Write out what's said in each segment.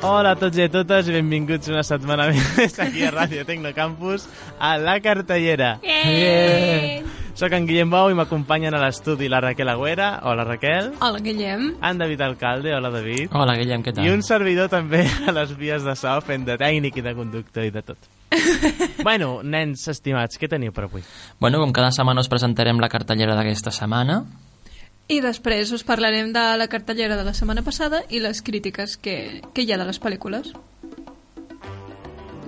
Hola a tots i a totes i benvinguts una setmana més aquí a Ràdio Tecnocampus a La Cartellera. Eh! Soc en Guillem Bau i m'acompanyen a l'estudi la Raquel Agüera. Hola Raquel. Hola, Guillem. En David Alcalde. Hola David. Hola, Guillem, què tal? I un servidor també a les vies de so fent de tècnic i de conductor i de tot. bueno, nens estimats, què teniu per avui? Bueno, com cada setmana us presentarem la cartellera d'aquesta setmana. I després us parlarem de la cartellera de la setmana passada i les crítiques que, que hi ha de les pel·lícules.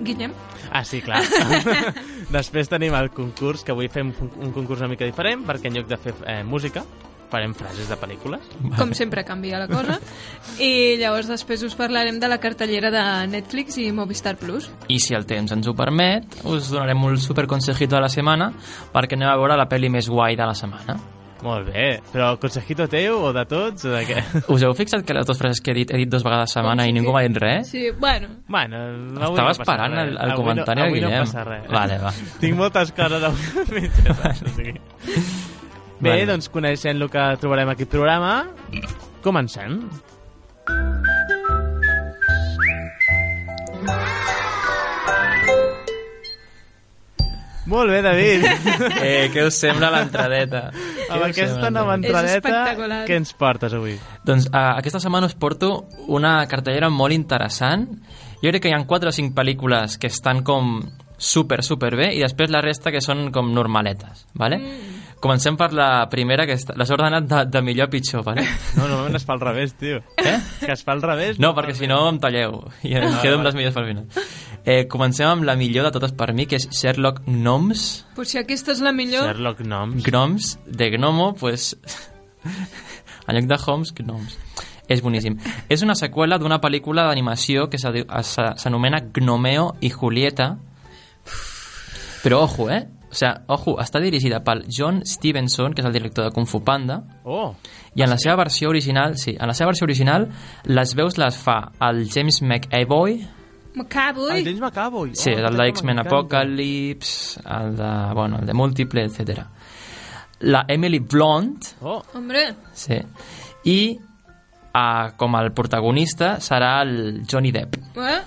Guillem? Ah, sí, clar. Després tenim el concurs, que avui fem un un concurs una mica diferent, perquè en lloc de fer eh, música, farem frases de pel·lícules. Com sempre canvia la cosa. I llavors després us parlarem de la cartellera de Netflix i Movistar Plus. I si el temps ens ho permet, us donarem un superconsejito de la setmana perquè anem a veure la pel·li més guai de la setmana. Molt bé, però consejito teu o de tots o de què? Us heu fixat que les dues frases que he dit, he dit dues vegades setmana i ningú m'ha dit Eh? res? Sí, bueno, Bueno, avui Estava no passa esperant res. el- el Avui comentari no, del avui Guillem. No passa res. Vale, va. Tinc moltes coses avui m'interessen, o sigui. Bé, Vale. doncs coneixent el que trobarem aquí al programa, comencem. Molt bé, David. Eh, què us sembla l'entradeta? Què Amb us aquesta sembla nova entradeta, l'entradeta? espectacular. què ens portes avui? Doncs eh, aquesta setmana us porto una cartellera molt interessant. Jo crec que hi ha 4 o 5 pel·lícules que estan com super, super bé i després la resta que són com normaletes, ¿vale? Mm. Comencem per la primera, que està- l'has ordenat de, de millor a pitjor, ¿vale? No, normalment es fa al revés, tio. Eh? Que es fa al revés. No, perquè si no em talleu i em quedo amb les millors per final. Eh, comencem amb la millor de totes per mi, que és Sherlock Gnomes. potser aquesta és la millor. Sherlock Gnomes. Gnomes, de Gnomo, pues... en lloc de Holmes, Gnomes. És boníssim. És una seqüela d'una pel·lícula d'animació que s'adiu- s'ha- s'anomena Gnomeo i Julieta. Però ojo, eh? O sea, ojo, està dirigida pel John Stevenson, que és el director de Kung Fu Panda, Oh, i en la seva versió original, sí, en la seva versió original, les veus les fa el James McAvoy, el M'acabo. James McAvoy. Sí, oh, el com de X-Men m'encanta. Apocalypse, el de, bueno, el de Múltiple, etc. La Emily Blunt, Oh, Hombre, sí. I eh, com el protagonista serà el Johnny Depp. eh?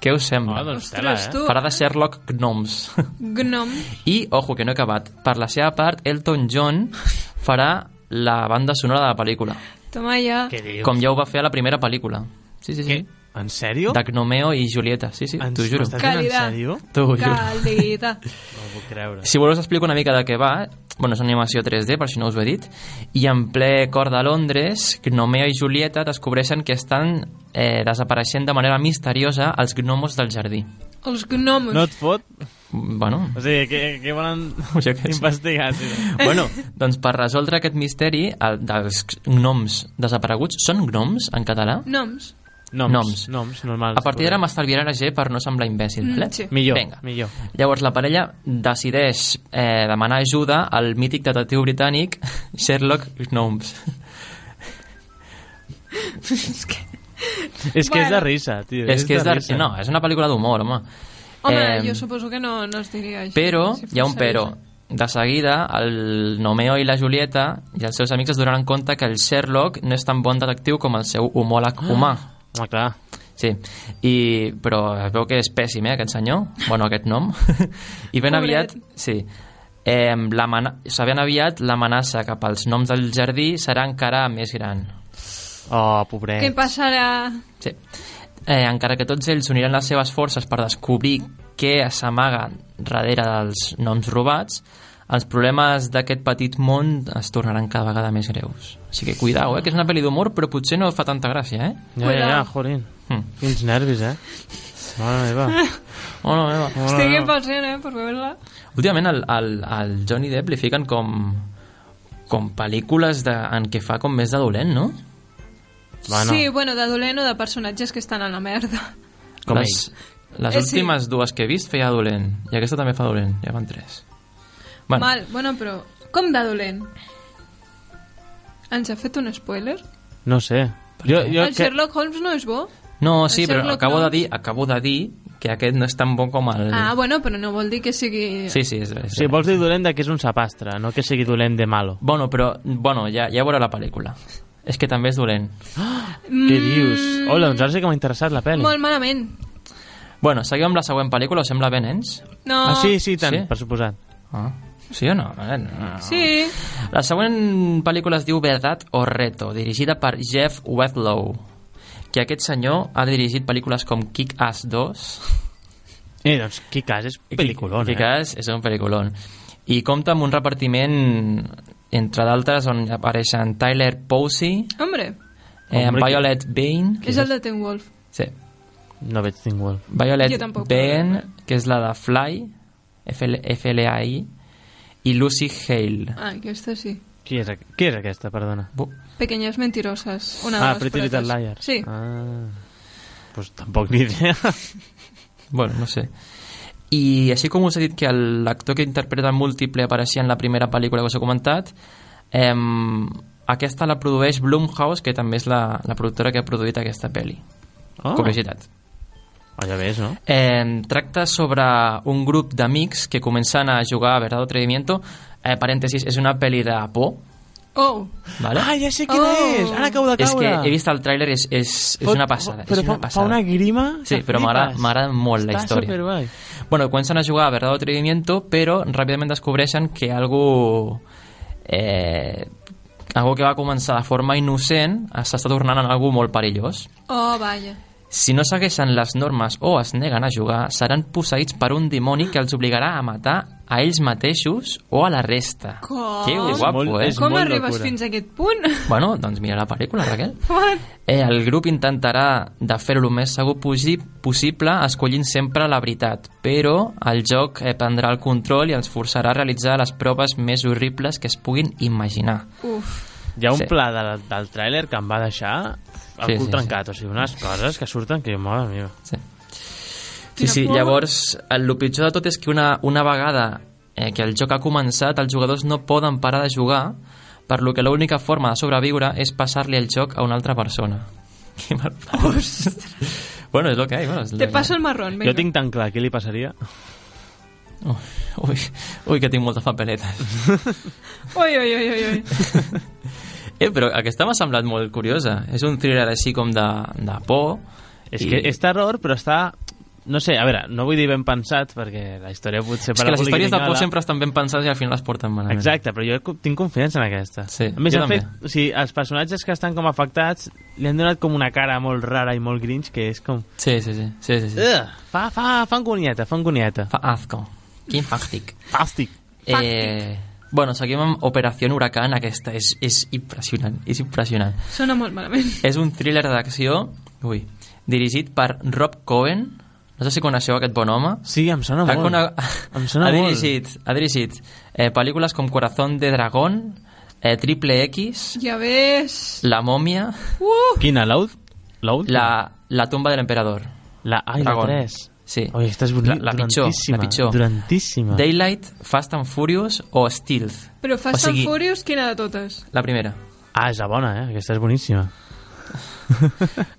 Què us oh sembla? doncs tela, Ostres, eh? tu. Farà de Sherlock Gnomes. Gnom. I, ojo, que no he acabat. Per la seva part, Elton John farà la banda sonora de la pel·lícula. Toma ja. Què dius? Com ja ho va fer a la primera pel·lícula. Sí, sí, sí. Què? En sèrio? De Gnomeo i Julieta, sí, sí, Ens- t'ho juro. m'estàs dient Calidad. En sèrio? T'ho juro. Calidad. No ho puc creure. Si voleu us explico una mica de què va. Bueno, és una animació 3D, per si no us ho he dit. I en ple cor de Londres, Gnomeo i Julieta descobreixen que estan eh, desapareixent de manera misteriosa els gnomos del jardí. Els gnomos. No et fot? Bueno, O sigui, què, què volen Jo què sé. investigar? Sí. bueno doncs per resoldre aquest misteri el, dels gnoms desapareguts, són gnoms en català? Noms. Noms. Noms. Noms. Noms, normal. A partir d'ara m'estalviaré la G per no semblar imbècil, Mm, vale? sí. Millor, Vinga. millor. Llavors la parella decideix eh, demanar ajuda al mític detectiu britànic Sherlock Gnomes. És que... És que és de Bueno. risa, tio. És que és de... risa. No, és una pel·lícula d'humor, home. Home, Em, jo suposo que no, no es diria així. Però, si hi ha un fos però. De seguida, el Nomeo i la Julieta i els seus amics es donaran compte que el Sherlock no és tan bon detectiu com el seu Ah. homòleg humà. Home, clar. Sí, I, però es veu que és pèssim, eh, aquest senyor. Bueno, aquest nom. I ben Pobret. aviat... Sí. Eh, l'amana- o sigui, ben aviat l'amenaça cap als noms del jardí serà encara més gran. Oh, seriós. pobret. Eh. Què passarà? Sí. Eh, encara que tots ells uniran les seves forces per descobrir què s'amaga darrere dels noms robats, els problemes d'aquest petit món es tornaran cada vegada més greus. Així que cuidao, eh, que és una pel·li d'humor, però potser no fa tanta gràcia, eh? Ja, ja, ja, Cuidao. jorin. Hm. Quins nervis, eh? Mare meva. Oh, no, meva. Mare Estic meva. impassient, eh, per veure-la. Últimament al, al, al Johnny Depp li fiquen com com pel·lícules de, en què fa com més de dolent, no? Bueno. Sí, bueno, de dolent o de personatges que estan a la merda. Com les, les Eh, sí. últimes dues que he vist feia dolent, i aquesta també fa dolent, ja van tres. Bueno. Mal, bueno, però... Com de dolent? Ens ha fet un spoiler? No sé. Jo, jo, Jo el que... Sherlock Holmes no és bo? No, El sí, però Sherlock acabo de, Holmes. dir, acabo de dir que aquest no és tan bon com el... Ah, bueno, però no vol dir que sigui... Sí, sí, és, és Mm. Sí, vols dir dolent de que és un sapastre, no que sigui dolent de malo. Bueno, però, bueno, ja, ja veurà la pel·lícula. és que també és dolent. Mm. Què dius? Hola, doncs ara sí que m'ha interessat la pel·li. Molt malament. Bueno, seguim amb la següent pel·lícula, us sembla bé, nens? No. Ah, sí, sí, tant, Sí? per suposat. Ah. Sí o no? Eh, no. Sí. Ah. La següent pel·lícula es diu Verdad o Reto, dirigida per Jeff Wedlow, que aquest senyor ha dirigit pel·lícules com Kick-Ass 2, Eh, doncs, Kikas és peliculón, eh? Kick-Ass és un pel·liculón, i compta amb un repartiment, entre d'altres, on apareixen Tyler Posey, Hombre, eh, Hombre, Violet Bane, és el de Teen Wolf. sí, No veig Teen Wolf. Violet Jo tampoc. Bane, que és la de Fly, FL, FLAI, i Lucy Hale. Ah, aquesta sí. Qui és, aqu- qui és aquesta, perdona? Bu- Pequeñas mentirosas. Una de ah, les Pretty pretes. Little Liars. Sí. Ah. Pues tampoc ni idea. Bueno, no sé. I així com us he dit que el- l'actor que interpreta múltiple apareixia en la primera pel·lícula que us he comentat, ehm, aquesta la produeix Blumhouse, que també és la, la productora que ha produït aquesta pel·li. Oh, Curiositat. Ah, oh ja ves, no? Eh, tracta sobre un grup d'amics que comencen a jugar a Verdad o Atrevimiento. Eh, parèntesis, és una pel·li de por, Oh, vale? Ah, ja sé quina Oh. és! Ara acabo és que he vist el tràiler, és, és, és una passada. Però és una fa, fa passada. una grima... Sí, però m'agrada m'agrada molt la història. Està superguai. Bueno, comencen a jugar a Verdad o Atrevimiento, pero rápidamente descobreixen que algo... Eh, algo que va començar de forma innocent s'està tornant en algo molt perillós. oh, vaja. Si no segueixen les normes o es neguen a jugar, seran posseïts per un dimoni que els obligarà a matar a ells mateixos o a la resta. Com? Que És guapo, molt- eh? és- Com molt arribes locura. fins a aquest punt? Bueno, doncs mira la pel·lícula, Raquel. What? Eh, el grup intentarà de fer-ho el més segur posi- possible, escollint sempre la veritat, però el joc eh, prendrà el control i els forçarà a realitzar les proves més horribles que es puguin imaginar. Uf. Hi ha un Sí. sí. pla de, del tràiler que em va deixar el Sí, cul sí, trencat. O sigui, unes coses que surten que jo, mare meva. Sí, sí, Quina sí. por. llavors el, el pitjor de tot és que una, una vegada eh, que el joc ha començat, els jugadors no poden parar de jugar, per lo que l'única forma de sobreviure és passar-li el joc a una altra persona. Que mal... bueno, és el que hi ha. Bueno, és lo Te que hi ha. paso el marrón, Venga. vinga. Jo tinc tan clar què li passaria. Ui, ui, ui, que tinc moltes papeletes. Ui, ui, ui, ui, ui. Eh, però aquesta m'ha semblat molt curiosa. És un thriller així com de, de por. És i- que és terror, però està... No sé, a veure, no vull dir ben pensat, perquè la història potser... és que les històries de por sempre estan ben pensades i al final les porten malament. Exacte, però jo co- tinc confiança en aquesta. Sí, a més, jo han també. fet, o sigui, els personatges que estan com afectats li han donat com una cara molt rara i molt grinch que és com... Sí, sí, sí. sí, sí, sí. Ugh, fa, fa, fa angonieta, fa angonieta. Fa asco. Quin fàctic. Fàstic. Eh, bueno, seguim amb Operació Huracán. Aquesta és, és impressionant. És impressionant. Sona molt malament. És un thriller d'acció... Ui. Dirigit per Rob Cohen. No sé si coneixeu aquest bon home. Sí, em sona Ha, Ah, molt. cona... Em sona ha molt. dirigit, ha dirigit eh, pel·lícules com Corazón de Dragón, eh, Triple X, Ja ves. La Mòmia, Uh! Quina, l'out? L'out? La, la Tumba de l'Emperador, La, ai, Dragon. la 3. Sí. Oi, esta és boni- La- la pitjor, durantíssima, la pitjor. Durantíssima. Daylight, Fast and Furious o Stealth. Però O Fast sigui- and Furious, quina de totes? La primera. Ah, és la bona, eh? Aquesta és boníssima.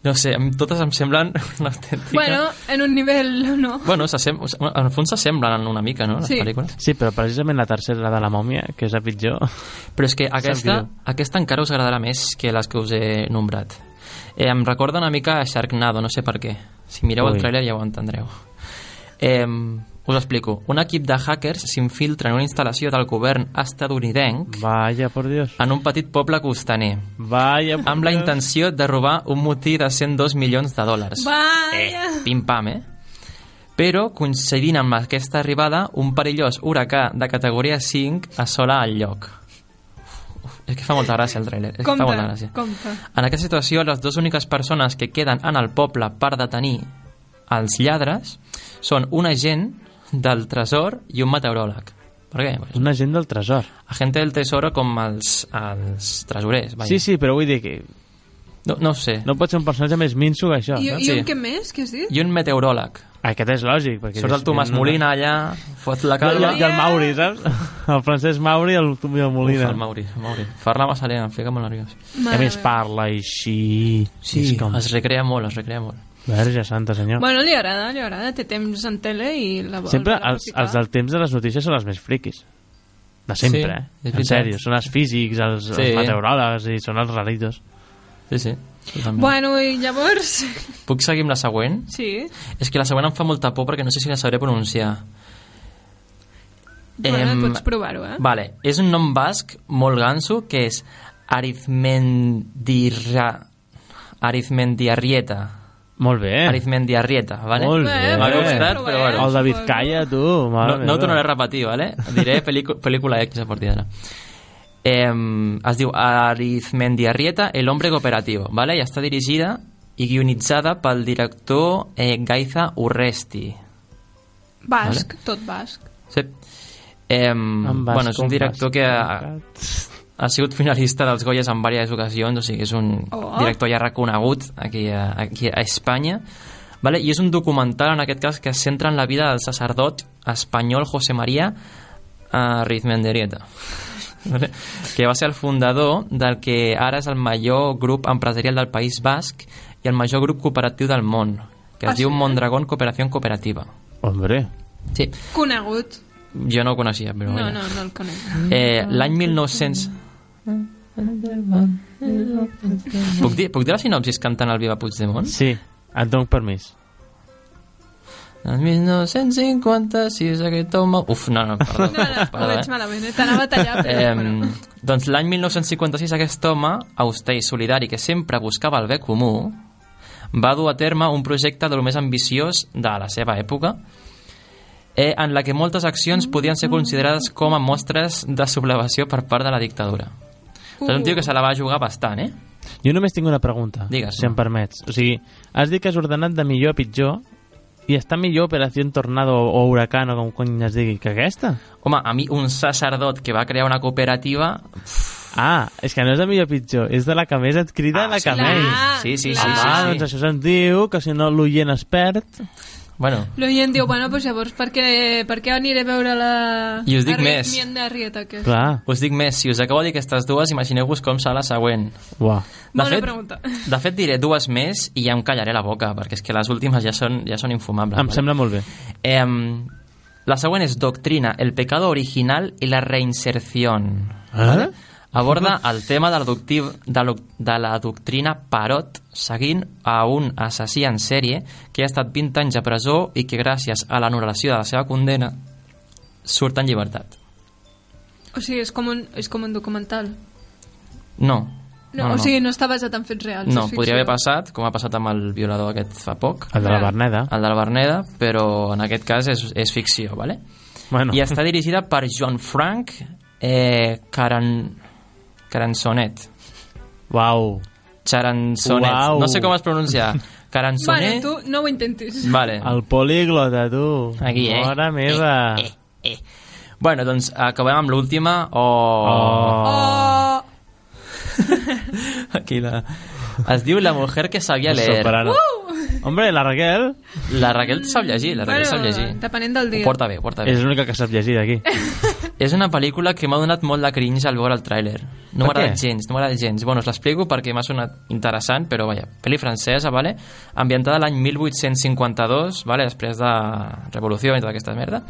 No sé, em- totes em semblen una autèntica... Bueno, en un nivell, no? bueno s'assem- en el fons s'assemblen una mica, no? Les Sí. pel·lícules. Sí, però precisament la tercera, la de la mòmia, que és la pitjor. Però és que aquesta, greu. aquesta encara us agradarà més que les que us he nombrat. Eh, em recorda una mica a Sharknado, no sé per què. Si mireu Ui. el tràiler ja ho entendreu. Eh, us explico. Un equip de hackers s'infiltra en una instal·lació del govern estatunidenc Vaya, por Dios. en un petit poble costaner Vaya, por amb la Dios. intenció de robar un motí de 102 milions de dòlars. Vaja. Pim-pam, eh? Però, coincidint amb aquesta arribada, un perillós huracà de categoria 5 assola el lloc. Uf, és que fa molta gràcia el trailer. És que fa molta Compte, gràcia. compte. En aquesta situació, les dues úniques persones que queden en el poble per detenir els lladres són un agent del tresor i un meteoròleg. Per què? Pues, Un agent del tresor. agente del tesoro com els, els tresorers. Vaja. Sí, sí, però vull dir que No, no ho sé. no pot ser un personatge més minso que això. I, Ah, no? i Sí. un què més, què has dit? I un meteoròleg. Aquest és lògic. Perquè Surt el Tomàs Molina allà, fot la I, calma... i, el Mauri, saps? El Francesc Mauri i el Tomàs Molina. Uf, el Mauri, el Mauri. Parla massa lent, em fica molt nerviós. que a més meva. parla així... Sí, És com... es recrea molt, es recrea molt. Verge santa, senyor. Bueno, li agrada, li agrada. Té temps en tele i la vol Sempre la vol els, picar. els del temps de les notícies són els més friquis. De sempre, Sí, és eh? En veritat. sèrio, són els físics, els, Sí. els meteoròlegs i són els raritos. Sí, sí. totalment. Bueno, i llavors... Puc seguir amb la següent? Sí. És que la següent em fa molta por perquè no sé si la sabré pronunciar. Bueno, Em, pots provar-ho, eh? Vale, és un nom basc molt ganso que és Arizmendirra... Arizmendiarrieta. Molt bé. eh? Arizmendiarrieta, vale? Molt Bé, bé. M'ha costat, però bueno. El David suposo. Calla, tu. No, mare no ho meva. tornaré a repetir, vale? Diré pelicu- pel·lícula X a partir d'ara. Eh, es diu Arizmendiarrieta, el hombre cooperativo, vale? I està dirigida i guionitzada pel director eh, Gaiza Urresti. Basc, tot basc. Sí. Eh, Em vas bueno, és un com director vas, que ha, complicat. ha sigut finalista dels Goyes en diverses ocasions, o sigui, és un Oh. director ja reconegut aquí a, aquí a Espanya. Vale? I és un documental, en aquest cas, que es centra en la vida del sacerdot espanyol José María eh, Rizmenderieta, vale? que va ser el fundador del que ara és el major grup empresarial del País Basc i el major grup cooperatiu del món, que es Ah, diu sí? Mondragón Cooperació Cooperativa. Hombre. Sí, Conegut. jo no ho coneixia, però... No, vaja. no, no el conec. Eh, l'any 1900... Puc dir, puc dir la sinopsis cantant el Viva Puigdemont? Sí, et dono permís. El 1956 aquest home... Uf, no, no, perdó. No, no, ho perdó, veig malament. eh? T'anava a tallar, però... bueno. Eh, doncs l'any 1956 aquest home, auster i solidari que sempre buscava el bé comú, va dur a terme un projecte del més ambiciós de la seva època eh, en la que moltes accions podien ser considerades com a mostres de sublevació per part de la dictadura. Uh. És un tio que se la va jugar bastant, eh? Jo només tinc una pregunta, Digues. si em permets. O sigui, has dit que has ordenat de millor a pitjor i està millor Operació Tornado o Huracán o com cony es digui que aquesta? Home, a mi un sacerdot que va crear una cooperativa... Ah, és que no és de millor a pitjor, és de la que més et crida Ah, la sí, que menys. Clar, sí, sí, sí, Ah, clar. sí, sí. doncs això se'n diu que si no l'oient es perd. Bueno, L'oient diu, bueno, doncs llavors, per què, per què aniré a veure la... I us dic la més. Mien de Rieta, que és... Clar, us dic més, si us acabo de dir aquestes dues, imagineu-vos com serà la següent. uah. Bona pregunta. de fet, diré dues més i ja em callaré la boca, perquè és que les últimes ja són, ja són infumables. Em sembla molt bé. Em, la següent és Doctrina, el pecado original i la reinserción. Eh? Aborda el tema de la, doctiv, de, lo, de la doctrina Parot seguint a un assassí en sèrie que ha estat 20 anys a presó i que gràcies a l'anul·lació de la seva condena surt en llibertat. O sigui, és com un, és com un documental. No. No, no, no, o sigui, no està basat en fets reals. no és ficció. podria haver passat, com ha passat amb el violador aquest fa poc, El de la Clar. Berneda. el de la Berneda, però en aquest cas és, és ficció, ¿vale? Bueno, i està dirigida per John Frank eh, Caran... Caransonet. uau. Charansonet. Uau. No sé com es pronuncia. Bueno, Caransonet. tu no ho intentis. Vale. El políglota, tu. Eh. Aquí, eh? Mare meva. Eh, eh, eh. Bueno, doncs acabem amb l'última o... Oh. Oh. Aquí la... Es diu La mujer que sabia leer. Soprano. Hombre, la Raquel La Raquel sap llegir, la Raquel sap llegir. depenent del dia. Ho porta bé, ho porta bé. és l'única que sap llegir d'aquí. És una pel·lícula que m'ha donat molt de cringe al veure el tràiler. Per No m'ha agradat què? gens, no m'ha agradat gens. Bueno, us l'explico perquè m'ha sonat interessant, però vaja, pel·li francesa, vale? ambientada l'any 1852, vale? després de revolució i tota aquesta merda.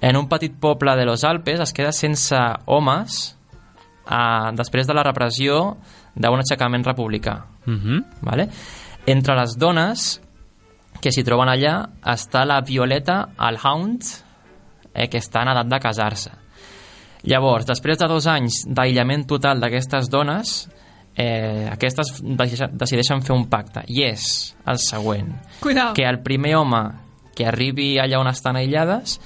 En un petit poble de los Alpes es queda sense homes eh, després de la repressió d'un aixecament republicà. Mhm. Vale? Entre les dones que s'hi troben allà està la Violeta Alhound, eh, que està en edat de casar-se. Llavors, després de dos anys d'aïllament total d'aquestes dones, eh, aquestes deix- decideixen fer un pacte, i és el següent, Cuidao. que el primer home que arribi allà on estan aïllades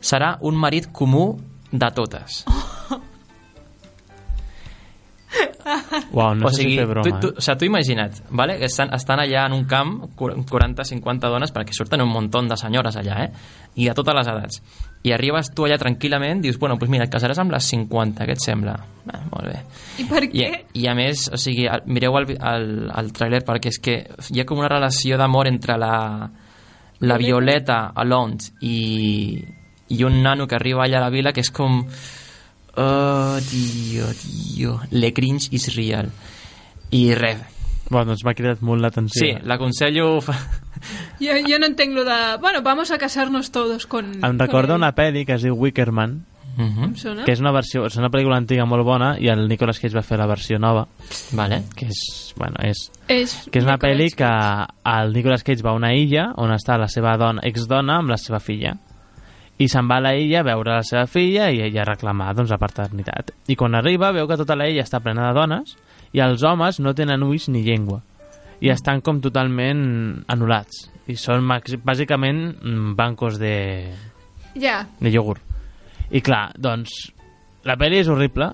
serà un marit comú de totes. Uau, no o sé sigui, si fer broma. eh? tu, tu, o sigui, tu imagina't, vale? que estan, estan allà en un camp, 40-50 dones, perquè surten un muntó de senyores allà, eh? i de totes les edats. I arribes tu allà tranquil·lament, dius, bueno, doncs mira, et casaràs amb les 50, què et sembla? Ah, molt bé. I per I, què? I a més, o sigui, el- mireu el, vi- el, el tràiler perquè és que hi ha com una relació d'amor entre la, la Violeta Alons i, i un nano que arriba allà a la vila que és com... Oh, tio, tio, le cringe is real. I res, Bueno, doncs m'ha cridat molt l'atenció. sí, l'aconsello... fa- Jo, jo no entenc lo de... Bueno, vamos a casarnos todos con... eh? Em recorda una pel·li que es diu Wickerman, Mhm. Em sona? Eh? que és una versió, és una pel·lícula antiga molt bona i el Nicolas Cage va fer la versió nova Vale. que és, bueno, és, És, que és una Nicolas pel·li que Cage. el Nicolas Cage va a una illa on està la seva dona, exdona amb la seva filla i se'n va a la illa a veure la seva filla i ella a reclamar doncs, la paternitat i quan arriba veu que tota la illa està plena de dones i els homes no tenen ulls ni llengua i estan com totalment anul·lats i són maxi- bàsicament mm, bancos de, Ja, de iogurt. I clar, doncs, la pel·li és horrible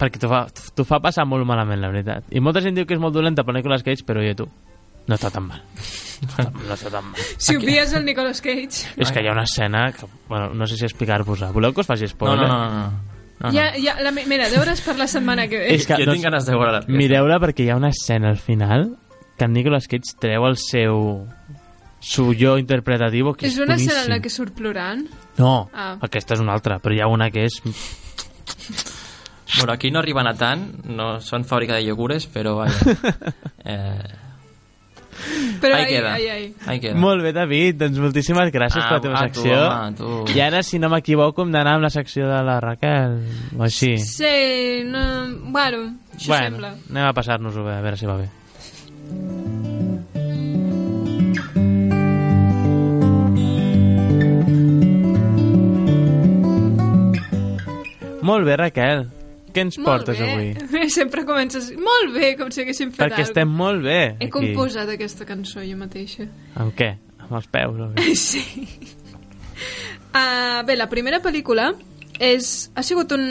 perquè t'ho fa, t'ho fa passar molt malament, la veritat. I molta gent diu que és molt dolenta per Nicolas Cage, però jo i tu, no està tan mal. No està, no està tan mal. si obvies el Nicolas Cage... És que hi ha una escena que, bueno, no sé si explicar-vos-la. Voleu que us faci No, spoiler? no, no, no. no. no, Ja, ja, la, me- mira, deures per la setmana que ve. Ah, És que, jo doncs, tinc ganes de veure la festa. Mireu-la perquè hi ha una escena al final que en Nicolas Cage treu el seu su yo interpretativo que és, És una boníssim. escena en la que surt plorant. No, Ah. aquesta és una altra, però hi ha una que és Bueno, aquí no arriben a tant, no són fàbrica de iogures, però vaja. Eh, Però ahí ai, queda. ai, ai. Ahí queda. Molt bé, David, doncs moltíssimes gràcies Ah, per la teva a tu, secció. home, a tu. I ara, si no m'equivoco, hem d'anar amb la secció de la Raquel, o així. Sí, no... Bueno, això bueno, sembla. anem a passar-nos-ho bé, a veure si va bé. Molt bé, Raquel. Què ens portes avui? Molt bé. Sempre comences molt bé, com si haguéssim fet Perquè alguna estem molt bé. He aquí. composat aquesta cançó jo mateixa. Amb què? Amb els peus. o què? Sí. Uh, bé, la primera pel·lícula és, ha sigut un,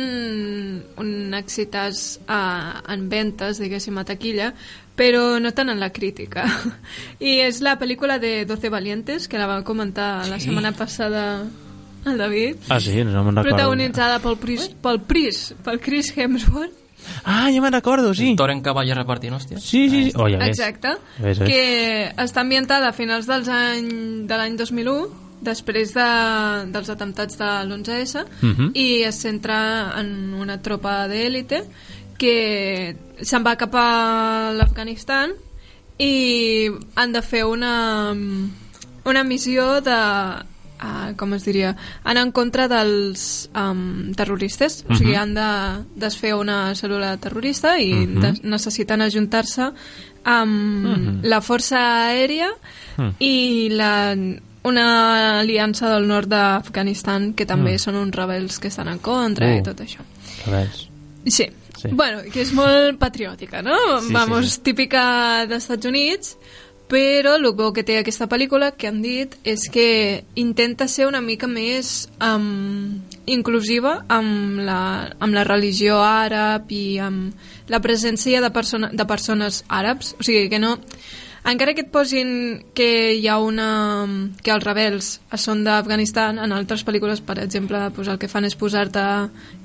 un exitàs uh, en ventes, diguéssim, a taquilla, però no tant en la crítica. I és la pel·lícula de 12 Valientes, que la va comentar la setmana passada el David, Ah, sí? No me'n recordo. protagonitzada pel Pris, pel Pris, pel Chris Hemsworth, Ah, ja me'n recordo, sí. Toren Cavaller repartint, hòstia. Sí, sí, sí. Oh, ja ves. Exacte, Ves, ves. que està ambientada a finals dels any, de l'any 2001, després de, dels atemptats de l'11S, Mhm. i es centra en una tropa d'élite que se'n va cap a l'Afganistan i han de fer una, una missió de... Uh, com es diria, anar en contra dels um, terroristes, o sigui, Mhm. han de desfer una cèl·lula terrorista i des- necessiten ajuntar-se amb la força aèria Mm. i la, una aliança del nord d'Afganistan que també són uns rebels que estan en contra Mm. Uh. i tot això. A veure. Sí. Sí. Bueno, que és molt patriòtica, no? Sí, Vamos, sí, sí. típica d'Estats Units, però el bo que té aquesta pel·lícula, que han dit, és que intenta ser una mica més um, inclusiva amb la, amb la religió àrab i amb la presència de, persona, de persones àrabs. O sigui, que no... Encara que et posin que hi ha una... que els rebels són d'Afganistan, en altres pel·lícules, per exemple, doncs el que fan és posar-te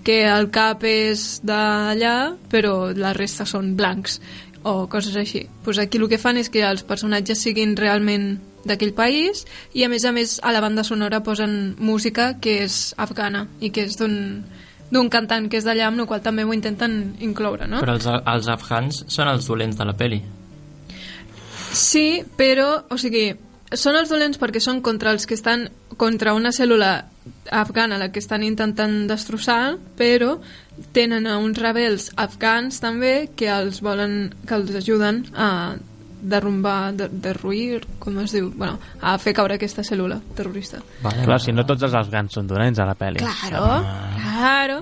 que el cap és d'allà, però la resta són blancs, o coses així. Doncs aquí el que fan és que els personatges siguin realment d'aquell país i a més a més a la banda sonora posen música que és afgana i que és d'un d'un cantant que és d'allà, amb el qual també ho intenten incloure, no? Però els, els afgans són els dolents de la peli. Sí, però, o sigui, són els dolents perquè són contra els que estan contra una cèl·lula afgana la que estan intentant destrossar, però tenen a uns rebels afgans també que els volen, que els ajuden a derrumbar, de, derruir, com es diu, bueno, a fer caure aquesta cèl·lula terrorista. Vale, Clar, si no tots els afgans són dolents a la pel·li. Claro, claro.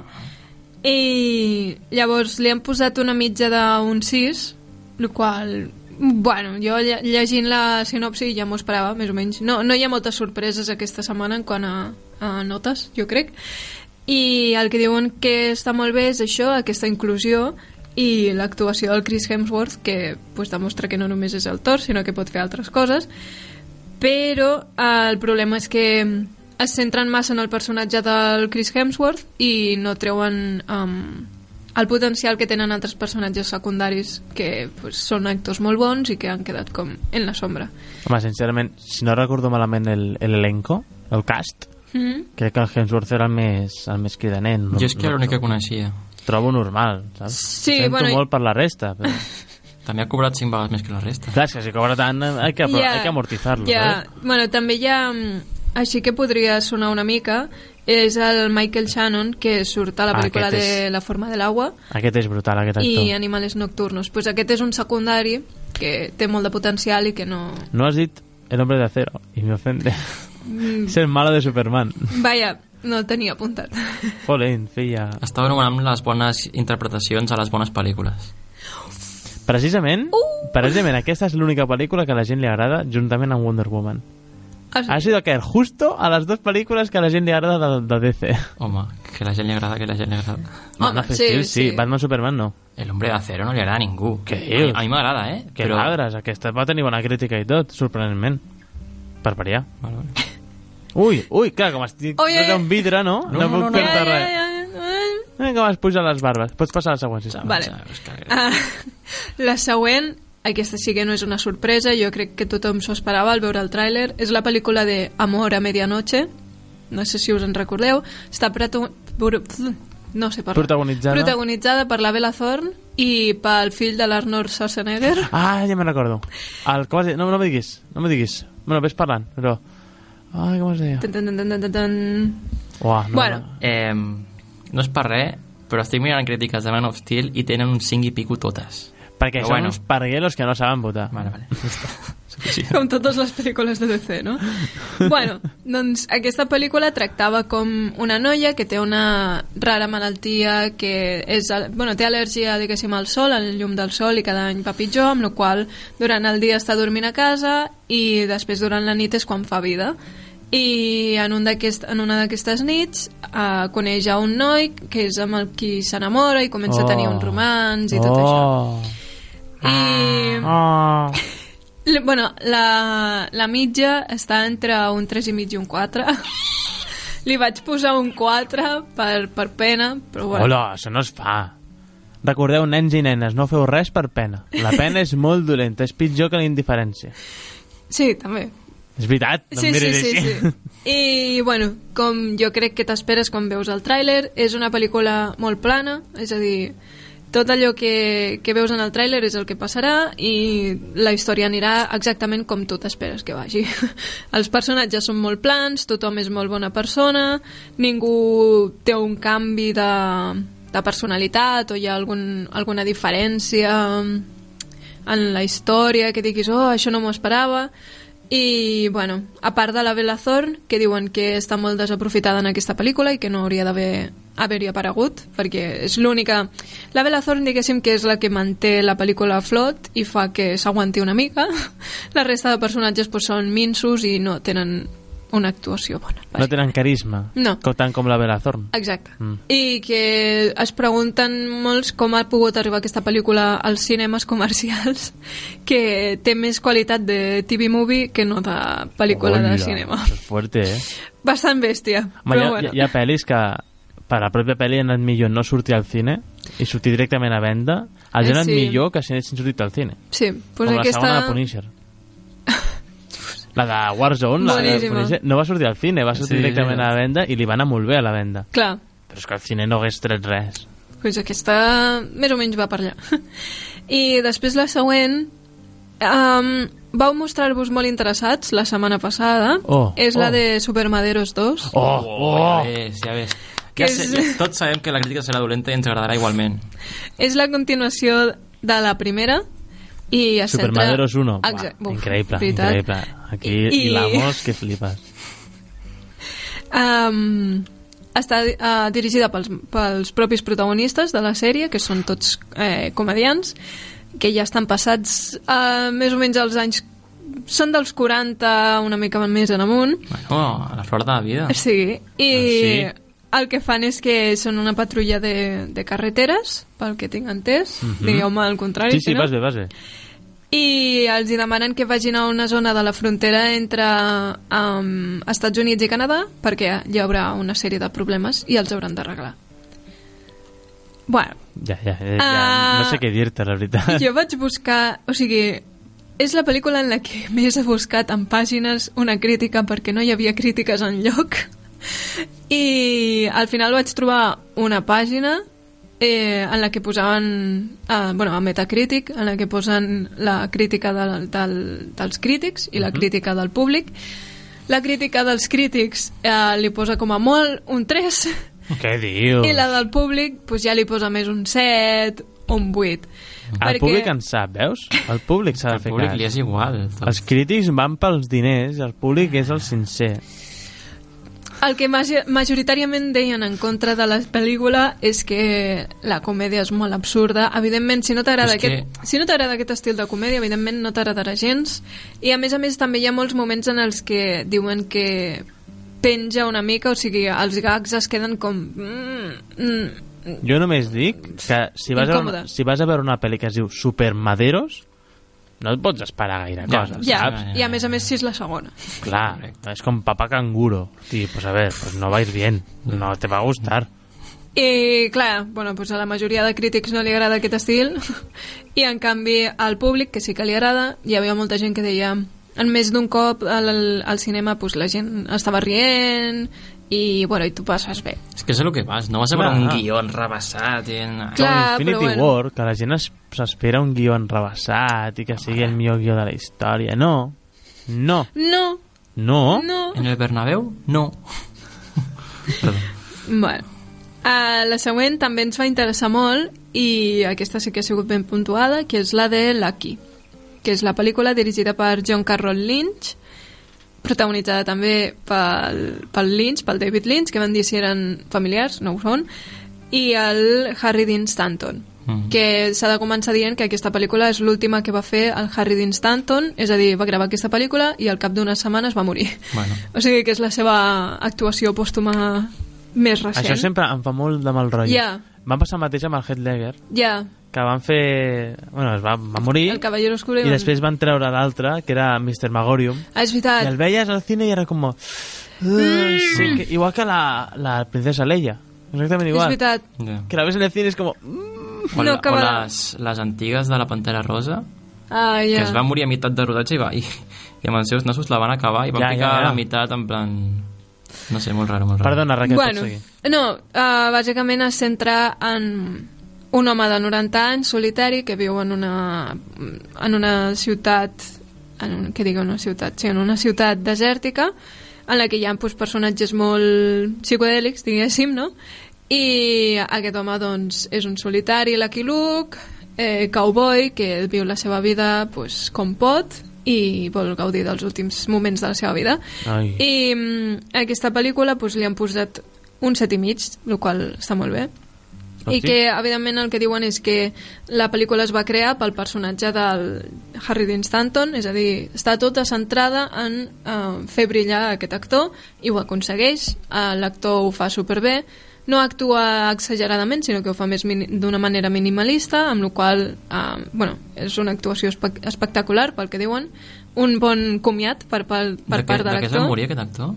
I llavors li han posat una mitja d'un 6, el qual, bueno, jo lle- llegint la sinopsi ja m'ho esperava, més o menys. No, no hi ha moltes sorpreses aquesta setmana en quant a, a notes, jo crec. I el que diuen que està molt bé és això, aquesta inclusió i l'actuació del Chris Hemsworth, que pues, demostra que no només és el Thor, sinó que pot fer altres coses però eh, el problema és que mm, es centren massa en el personatge del Chris Hemsworth i no treuen um, el potencial que tenen altres personatges secundaris que pues, són actors molt bons i que han quedat com en la sombra. Home, sincerament, si no recordo malament el, el elenco, el cast, Mm? crec que el Hemsworth era el més, el més cridaner. No, Jo és que era l'únic que no, coneixia. trobo normal, saps? Sí, Sento bueno, i- molt per la resta, però... També ha cobrat 5 vegades més que la resta. Clar, és que si cobra tant, eh, hay que, ¿eh? yeah. hay que amortizar-lo, ja. saps? Bueno, també hi ha... mm, Així que podria sonar una mica és el Michael Shannon, que surt a la Ah, pel·lícula aquest és- de La forma de l'aigua Aquest és brutal, aquest actor. i Animales nocturnos. Pues aquest és un secundari que té molt de potencial i que no... No has dit El hombre de acero, y me ofende. Mm, és el malo de Superman. Vaja, no el tenia apuntat. Jolín, filla. Estava anomenant les bones interpretacions a les bones pel·lícules. Precisament, Uh! precisament aquesta és l'única pel·lícula que a la gent li agrada juntament amb Wonder Woman. Ah, sí. Ha sido caer justo a les dues pel·lícules que a la gent li agrada de, de DC. Home, que la gent li agrada, que la gent li agrada. Home, Batman Ah, sí, Steel, sí. sí. Batman Superman no. El hombre de acero no li agrada a ningú. Què A mi- dius? A mi m'agrada, eh? Que Però... magres, aquesta va tenir bona crítica i tot, sorprenentment. Per variar. Vale, vale. Ui, ui, clar, com estic Oi, oi, tot oi. un vidre, no? No, No, no, puc no, no. fer Ja, ja, res. ja, ja. Vinga, vas, puja les barbes. Pots passar a la següent, sisplau. Vale. Saps que- Ah, la següent, aquesta sí que no és una sorpresa, jo crec que tothom s'ho esperava al veure el tràiler, és la pel·lícula de Amor a medianoche, no sé si us en recordeu, està pratu... bur- no sé parlar. Protagonitzada. Protagonitzada per la Bella Thorne i pel fill de l'Arnold Schwarzenegger. Ah, ja me'n recordo. El, com es deia? No, no me diguis, no me diguis. Bueno, ves parlant, però... Ai, com es deia? Tan, tan, tan, tan, tan, tan. Uah, Ah, no, Bueno. no. Eh, no és per res, però estic mirant crítiques de Man of Steel i tenen un 5 i pico totes. Perquè Però són bueno. bueno. uns parguelos que no saben votar. Vale, vale. Ja està. Suficient. Com totes les pel·lícules de DC, no? bueno, doncs aquesta pel·lícula tractava com una noia que té una rara malaltia que és, al- bueno, té al·lèrgia, diguéssim, al sol, a la llum del sol i cada any va pitjor, amb la qual cosa durant el dia està dormint a casa i després durant la nit és quan fa vida. I en, un d'aquest- en una d'aquestes nits eh, coneix a un noi que és amb el qui s'enamora i comença a Oh. tenir un romans i tot això. I... Oh. L- Bueno, la, la mitja està entre un 3 i mig i un 4. Li vaig posar un 4 per, per pena, però bueno. Hola, això no es fa. Recordeu, nens i nenes, no feu res per pena. La pena és molt dolenta, és pitjor que la indiferència. Sí, també. Doncs És veritat, no sí, em sí, miris sí, així. sí. I, bueno, com jo crec que t'esperes quan veus el tràiler, és una pel·lícula molt plana, és a dir, tot allò que, que veus en el tràiler és el que passarà i la història anirà exactament com tu t'esperes que vagi. Els personatges són molt plans, tothom és molt bona persona, ningú té un canvi de, de personalitat o hi ha algun, alguna diferència en la història, que diguis, oh, això no m'ho esperava, i, bueno, a part de la Bella Thorne, que diuen que està molt desaprofitada en aquesta pel·lícula i que no hauria d'haver haver-hi aparegut, perquè és l'única... La Bella Thorne, diguéssim, que és la que manté la pel·lícula a flot i fa que s'aguanti una mica. La resta de personatges pues, són minsos i no tenen una actuació bona. No tenen carisma, No. co- tant com la Bella Thorne. Exacte. Mm. Mm. I que es pregunten molts com ha pogut arribar aquesta pel·lícula als cinemes comercials, que té més qualitat de TV movie que no de pel·lícula de cinema. Que fuerte, eh? Bastant bèstia, Home, hi, però ha, bueno. hi, ha pel·lis que per la pròpia pel·li han anat millor no sortir al cine i sortir directament a venda els Eh, han anat sí. millor que si anessin sortit al cine Sí, pues pues com aquesta... la segona aquesta... de Punisher la de Warzone la de Boníssima. Punisher, no va sortir al cine va sortir sí, Sí, directament sí. a la venda i li va anar molt bé a la venda Clar, però és que al cine no hagués tret res pues aquesta més o menys va per allà. I després la següent... Um, vau mostrar-vos molt interessats la setmana passada. Oh, és la oh. de Supermaderos 2. oh, oh, Ja ves, ja ves. Que Ja sé, és- ja- tots sabem que la crítica serà dolenta i ens agradarà igualment. És la continuació de la primera i es centra... Supermaderos 1 Exacte. Exacte. Uf, increïble, veritat. increïble aquí I- I... hilamos que flipes Um, està uh, dirigida pels, pels propis protagonistes de la sèrie, que són tots eh, comedians, que ja estan passats uh, més o menys als anys... Són dels 40, una mica més en amunt. Bueno, a la flor de la vida. Sí, i Ah. Sí. el que fan és que són una patrulla de, de carreteres, pel que tinc entès, digueu-me al contrari. Mhm. sí, si sí, no. vas bé, vas bé I els hi demanen que vagin a una zona de la frontera entre um, Estats Units i Canadà perquè hi haurà una sèrie de problemes i els hauran d'arreglar. Bueno, ja, ja, eh, ja, ja no Ah. sé què dir-te, la veritat jo vaig buscar... O sigui, és la pel·lícula en la que més he buscat en pàgines una crítica perquè no hi havia crítiques en lloc. I al final vaig trobar una pàgina eh, en la que posaven... Eh, bueno, a Metacritic, en la que Mhm. posen la crítica del, del, dels crítics i la crítica del públic La crítica dels crítics eh, li posa com a molt un 3 Què dius? i la del públic pues, ja li posa més un 7 o un 8. Ah, El públic en sap, veus? El públic s'ha Al de fer públic cas. li és igual. tot. Els crítics van pels diners, el públic és el sincer. El que magi- majoritàriament deien en contra de la pel·lícula és que la comèdia és molt absurda. Evidentment, si no t'agrada És que- aquest, si no t'agrada aquest estil de comèdia, evidentment no t'agradarà gens. I a més a més també hi ha molts moments en els que diuen que penja una mica, o sigui, els gags es queden com... Mm, mm, Jo només dic que si vas, a veure, Incòmode. si vas a veure una pel·li que es diu Supermaderos, no et pots esperar gaire Ja, cosa, ja, saps? i a més a més si és la segona. Clar, és com papá canguro. Hosti, pues a ver, pues no vais bien, no te va a gustar. I, clar, bueno, doncs a la majoria de crítics no li agrada aquest estil i, en canvi, al públic, que sí que li agrada, hi havia molta gent que deia en més d'un cop al, al- al cinema doncs, la gent estava rient i, bueno, i tu passes bé. És que és el que vas, no vas a veure Clar. un guion rebassat. I... no. Clar. Ah, però Infinity bueno. War, que la gent es- s'espera un guió enrebaçat i que sigui el millor guió de la història. No, no, No, no. no. En el Bernabéu, no. Perdó. Bueno. Uh, la següent també ens va interessar molt i aquesta sí que ha sigut ben puntuada, que és la de Lucky, que és la pel·lícula dirigida per John Carroll Lynch, protagonitzada també pel, pel Lynch, pel David Lynch, que van dir si eren familiars, no ho són, i el Harry Dean Stanton, Mm. que s'ha de començar dient que aquesta pel·lícula és l'última que va fer el Harry Dean Stanton, és a dir, va gravar aquesta pel·lícula i al cap d'unes setmanes va morir. Bueno. O sigui que és la seva actuació pòstuma més recent. Això sempre em fa molt de mal rotllo. Ja. Van passar el mateix amb el Headlegger, Ja, que van fer... Bueno, es va, va morir el Cavallero Oscuro... i després van treure l'altre, que era Mr. Magorium. Ah, Mm. és I veritat. el veies al cine i era com... "Ugh, sí, que, igual que la, la princesa Leia. Exactament És igual. veritat. Ja. Que la ves en el cine i és com... "Mm". O, No, la, que o va- les, les antigues de la Pantera Rosa, Ah, que ja. es va morir a meitat de rodatge i, va, i, i amb els seus nassos la van acabar i van Ja, picar ja, ja. la meitat en plan... No sé, molt raro, molt raro. Perdona, Raquel, Bueno, pots seguir. no, uh, bàsicament es centra en un home de 90 anys, solitari, que viu en una, en una ciutat, en, un- què dic, una ciutat, sí, en una ciutat desèrtica, en la que hi ha doncs, personatges molt psicodèlics, diguéssim, no? I aquest home, doncs, és un solitari, Lucky Luke, eh, cowboy, que viu la seva vida doncs, com pot i vol gaudir dels últims moments de la seva vida. Ai. I mm, a aquesta pel·lícula doncs, li han posat un set i mig, el qual està molt bé. I Hosti. que, evidentment, el que diuen és que la pel·lícula es va crear pel personatge del Harry Dean Stanton, és a dir, està tota centrada en eh, fer brillar aquest actor, i ho aconsegueix, eh, l'actor ho fa superbé, no actua exageradament, sinó que ho fa més mini- d'una manera minimalista, amb la qual eh, bueno, és una actuació espe espectacular, pel que diuen, un bon comiat per, per, per de part de De què es va l'actor. morir aquest actor?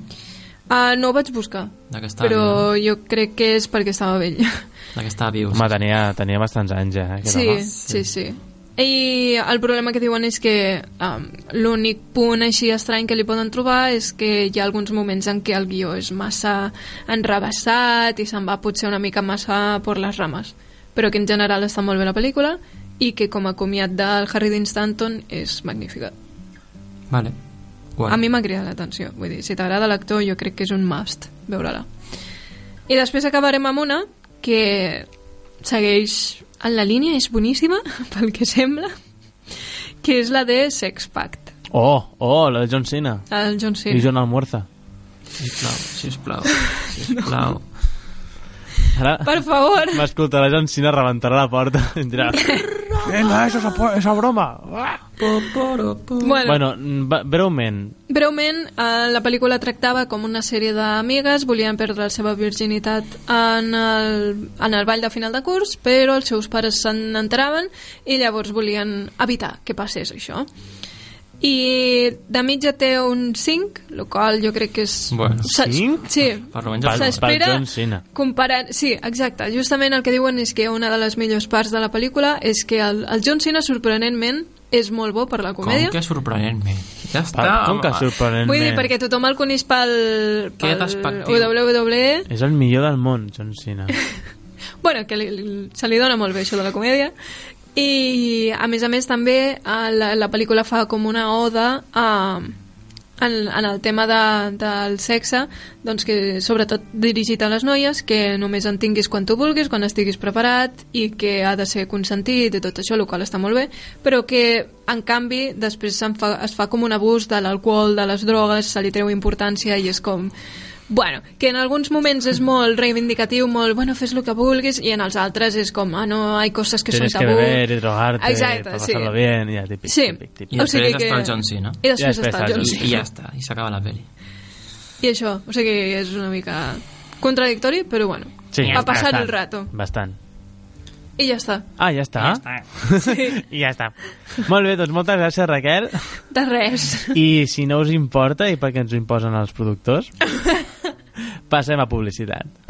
Uh, no ho vaig buscar, De que estava, però viu, Ah, jo crec que és perquè estava vell. no? de que estava viu. Home, tenia, tenia bastants anys ja. Eh, aquest Sí, home. sí, sí. I el problema que diuen és que um, l'únic punt així estrany que li poden trobar és que hi ha alguns moments en què el guió és massa enrabassat i se'n va potser una mica massa per les rames. Però que en general està molt bé la pel·lícula i que com a comiat del Harry Dean Stanton és magnífica. Vale. Guai. A mi m'ha cridat l'atenció. Vull dir, si t'agrada l'actor, jo crec que és un must veure-la. I després acabarem amb una que segueix en la línia, és boníssima, pel que sembla, que és la de Sex Pact, Oh, oh, la de John Cena. el John Cena. I John Almuerza. Sisplau, sisplau, sisplau. Ara Per favor! m'escoltarà John Cena, rebentarà la porta i dirà... Venga, eso es apo- esa broma. Ah. Bueno, bueno, Bueno, mm, va- breument, breument, eh, la pel·lícula tractava com una sèrie d'amigues volien perdre la seva virginitat en el, en el ball de final de curs, però els seus pares se n'enteraven i llavors volien evitar que passés això. I de mitja té un 5, el qual jo crec que és... Bueno, s'ha- cinc? Sí. per almenys... Pel- es- Saps- S'espera... pel John Cena. Comparant... Sí, exacte. Justament el que diuen és que una de les millors parts de la pel·lícula és que el, el John Cena, sorprenentment, és molt bo per la Com comèdia. que sorprenentment. Ja està. Pa- Com que home. sorprenentment. Vull dir, perquè tothom el coneix pel, Què pel E. despectiu. WWE. És el millor del món, John Cena. Bueno, que li, li- se li dona molt bé això de la comèdia. I, a més a més, també eh, la, la pel·lícula fa com una oda a, en, en el tema de, del sexe, doncs que sobretot dirigit a les noies, que només en tinguis quan tu vulguis, quan estiguis preparat i que ha de ser consentit i tot això, el qual està molt bé, però que en canvi després se'n fa, es fa com un abús de l'alcohol, de les drogues, se li treu importància i és com... Bueno, que en alguns moments és molt reivindicatiu, molt, bueno, fes el que vulguis, i en els altres és com, ah, no, hay coses que són Tienes que tabú. beber y drogarte Exacte, para sí. pasarlo bien. Ja, típic, Sí. típic, I típic. O després sigui que- està el John Cena. I després Ja ja després està el el John John I, I ja està, i s'acaba la peli. I això, o sigui que és una mica contradictori, però bueno, Sí, va passar bastant, el rato. Bastant. I ja està. Ah, ja està. I ja està. Molt bé, doncs moltes gràcies, Raquel. De res. I si no us importa, i perquè ens ho imposen els productors, passem a publicitat.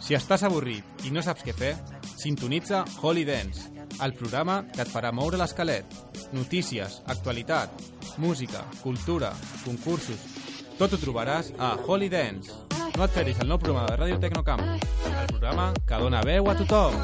Si estàs avorrit i no saps què fer, sintonitza Holy Dance, el programa que et farà moure l'esquelet. Notícies, actualitat, música, cultura, concursos... Tot ho trobaràs a Holy Dance. No et perdis el nou programa de Ràdio Tecnocamp, el programa que dona veu a tothom.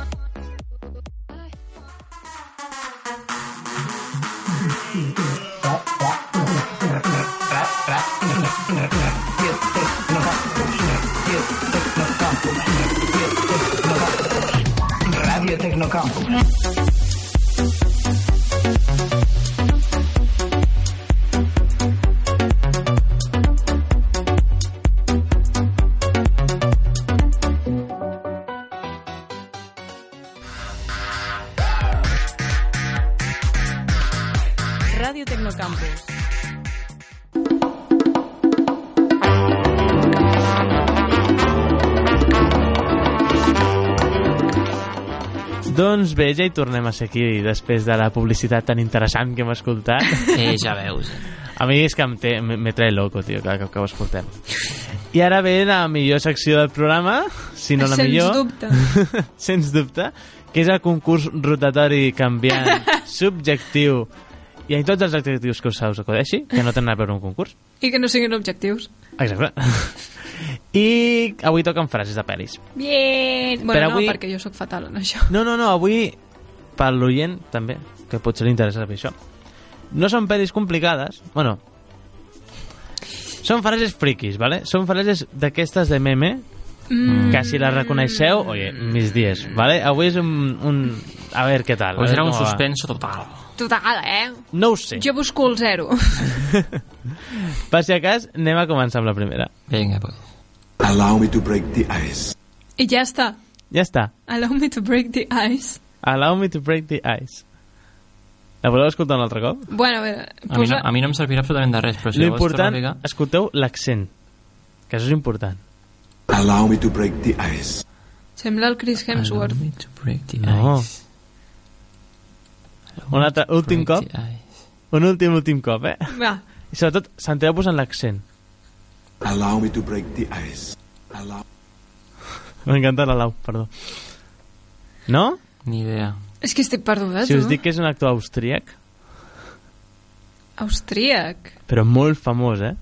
Radio Tecnocampus. Radio Tecnocampus. Doncs bé, ja hi tornem a ser aquí després de la publicitat tan interessant que hem escoltat. Eh, ja veus. eh. A mi és que em té, me, me trae loco, tio, cada cop que ho escoltem. I ara ve la millor secció del programa, si no la Eh, Sens millor. dubte. sens dubte, que és el concurs rotatori canviant, subjectiu, i en tots els adjectius que us us acudeixi, que no tenen a veure un concurs. I que no siguin objectius. Exacte. I avui toquen frases de pel·lis. Bien! Bueno, Però no, avui- perquè jo sóc fatal en això. No, no, no, avui, per l'oient, també, que potser li interessa saber això, no són pel·lis complicades, bueno, són frases friquis, vale? Són frases d'aquestes de meme, Mm. que si les reconeixeu, oye, mis dies, vale? Avui és un... un... A veure què tal. a Pues veure era un com va. suspenso total. Total, eh? No ho sé. Jo busco el zero. Per si de cas, anem a començar amb la primera. Vinga, pues. Allow me to break the ice. I ja està. Ja està. Allow me to break the ice. Allow me to break the ice. La voleu escoltar un altre cop? Bueno, eh, a veure... A mi, no, Posa... a mi no em servirà absolutament de res, però si Lo la vols important, tornar a ficar- escolteu l'accent. Que això és important. Allow me to break the ice. Sembla el Chris Hemsworth. Allow me to break the No. ice. Allow Un me altre- to últim break cop? the ice. Un últim, últim cop, eh? Va, I sobretot, centreu-vos en l'accent. Allow me to break the ice. Allow. M'encanta la Lau, perdó. No? Ni idea. és que estic Ah, perduda, Si tu. us dic que és un actor austríac, Austríac. però molt famós, eh?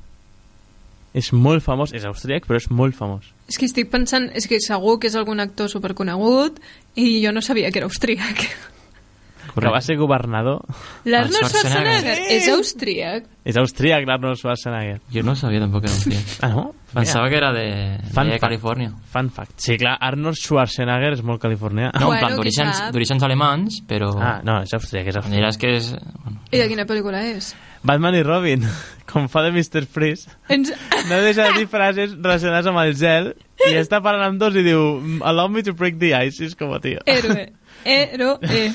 És molt famós, és austríac, però és molt famós. És que estic pensant... És que segur que és algun actor superconegut i jo no sabia que era austríac. Que va ser governador. L'Arnold El Schwarzenegger. Schwarzenegger és austríac? És austríac, l'Arnold Schwarzenegger. Jo no sabia tampoc que era un tio. Ah, no? Pensava que era de, Fan de fact. Califòrnia. Fun fact. Sí, clar, Arnold Schwarzenegger és molt californià. No, Bueno, en plan qui d'orígens sap. d'orígens alemanys, però... Ah, no, és austríac, és Em austríac. diràs que és... Bueno, I de quina pel·lícula és? Batman i Robin, com fa de Mr. Freeze, Ens... no deixa de dir frases relacionades amb el gel i està parlant amb dos i diu allow me to break the ice, I és com, tio. Héroe. Héroe.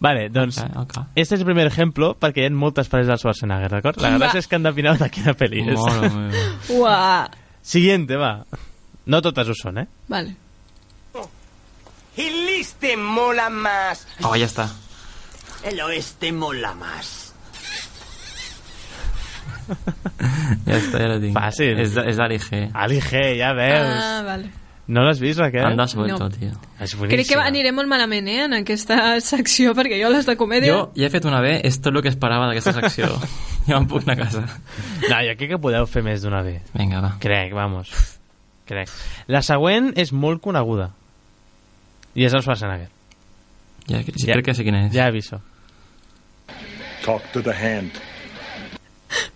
Vale, doncs, ok, ok. este és el primer ejemplo perquè hi ha moltes frases del Schwarzenegger, d'acord? La Va. gràcia és que endevineu de quina pel·li és. Mare meva. Uah. Siguiente, va. No totes ho són, eh? Vale. El este mola más. Oh, ja està. El oeste mola más. Ja està, ja la tinc. Fàcil. És, de- és d'ALG. Ali G, ja veus. Ah, vale. No l'has vist, Raquel? Han desvuelto, No. no. tio. És boníssima. Crec que va- aniré molt malament, eh, en aquesta secció, perquè jo les de comèdia... Jo ja he fet una B, és tot el que esperava d'aquesta secció. ja me'n puc anar a casa. No, jo crec que podeu fer més d'una vez. Vinga, va. Crec, vamos. Crec. La següent és molt coneguda. I és el Schwarzenegger. Ja, sí, Ja. Crec que sé quina és. Ja aviso. Talk to the hand.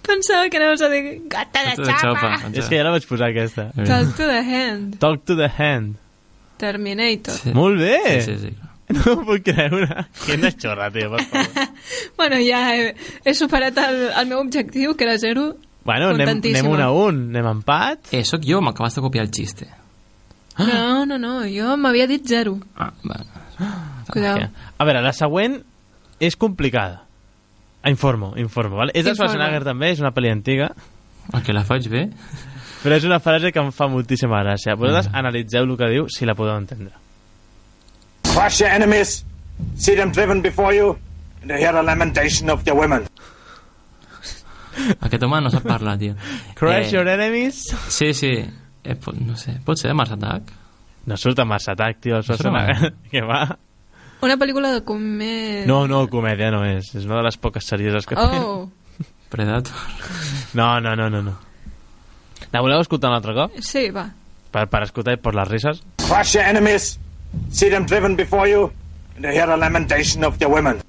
Pensava que anaves a dir gata de Tota de xapa. xapa. És que ja la vaig posar, aquesta. Talk to the hand. Talk to the hand. Terminator. Sí. Molt bé! Sí, sí, sí. clar. No ho puc creure. Quina xorra, tio, per favor. Bueno, ja he, he superat el, el meu objectiu, que era zero. Bueno, anem, anem Contentíssima. un a un. Anem a empat. Eh, sóc jo, m'acabes de copiar el xiste. No, no, no, jo m'havia dit zero. Ah, bueno. Cuidao. A veure, la següent és complicada. Ah, Informo, informo. Vale? És de Informa. Schwarzenegger també, és una pel·li antiga, El que la faig bé? però és una frase que em fa moltíssima gràcia. Vosaltres analitzeu el que diu, si la podeu entendre. Crush your enemies, see them driven before you, and hear the lamentation of their women. Aquest home no sap parlar, tio. Crush Eh, your enemies. Sí, sí. Eh, pot, no sé, pot ser Mars Attack? No surt amb massa atac, tio, el Schwarzenegger. Que va? Una pel·lícula de comer... No, no, comèdia no és. És una de les poques serioses que fem. Eh. Oh, Predator? No, no, no, no, no. La voleu escoltar un altre cop? sí, va. Per, per escoltar i per les risses? Crush your enemies, see them driven before you, and hear the lamentation of their women.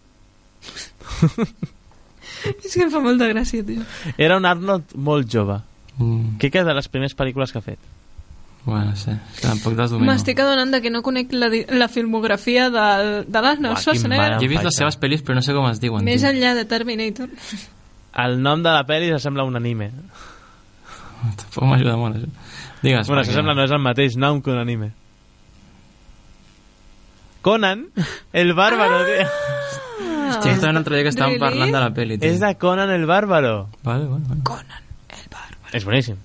És que em fa molta gràcia, tio. Era un Arnold molt jove. Mm, Crec que de les primeres pel·lícules que ha fet. bueno, no sé. És que Tampoc les domino. M'estic adonant de que no conec la, di- la filmografia del, de l'Arnold Joaquim Schwarzenegger. Mara. Jo he vist Faita. les seves pel·lis, però no sé com es diuen. Més tio. enllà de Terminator. El nom de la pel·li s'assembla a un anime. Tampoc m'ajuda molt, això. Digues. Bueno, perquè- s'assembla Ah. no és el mateix nom que un anime. Conan, el bàrbaro, tio. Hòstia, estava un altre dia que estàvem Really? parlant de la pel·li, tio. És de Conan el bàrbaro. Vale, vale, vale. És boníssim.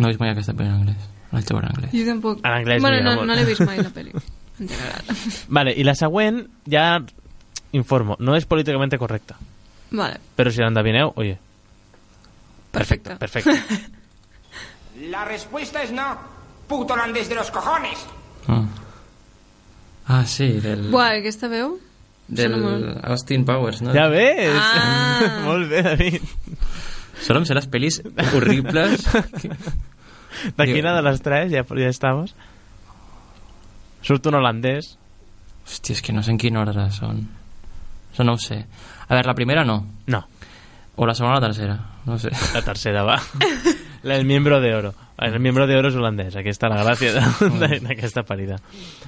No he vist mai aquesta pel·li en anglès. Vaig veure en anglès. Jo tampoc. En anglès bueno, m'agrada no, molt. no l'he vist mai, la pel·li. En general. Vale, i la següent, ja informo, no és políticament correcta. Vale, Però si l'endevineu, oye, perfecto. perfecte. La respuesta es no. Puto holandés de los cojones. Ah. ah, sí, del... Buah, aquesta veu? del sona molt. Austin Powers, no? Ja ves! Ah. Molt bé, David. Solo em sé les pel·lis horribles. que... De quina de les tres ja, ja estaves? Surt un holandès. Hòstia, és que no sé en quin ordre són. Això no ho sé. A veure, la primera no. No, O la segona o la tercera. No ho sé. la tercera va. La del miembro de oro. El miembro de oro és holandès. Aquesta la gràcia de- de- d'aquesta parida.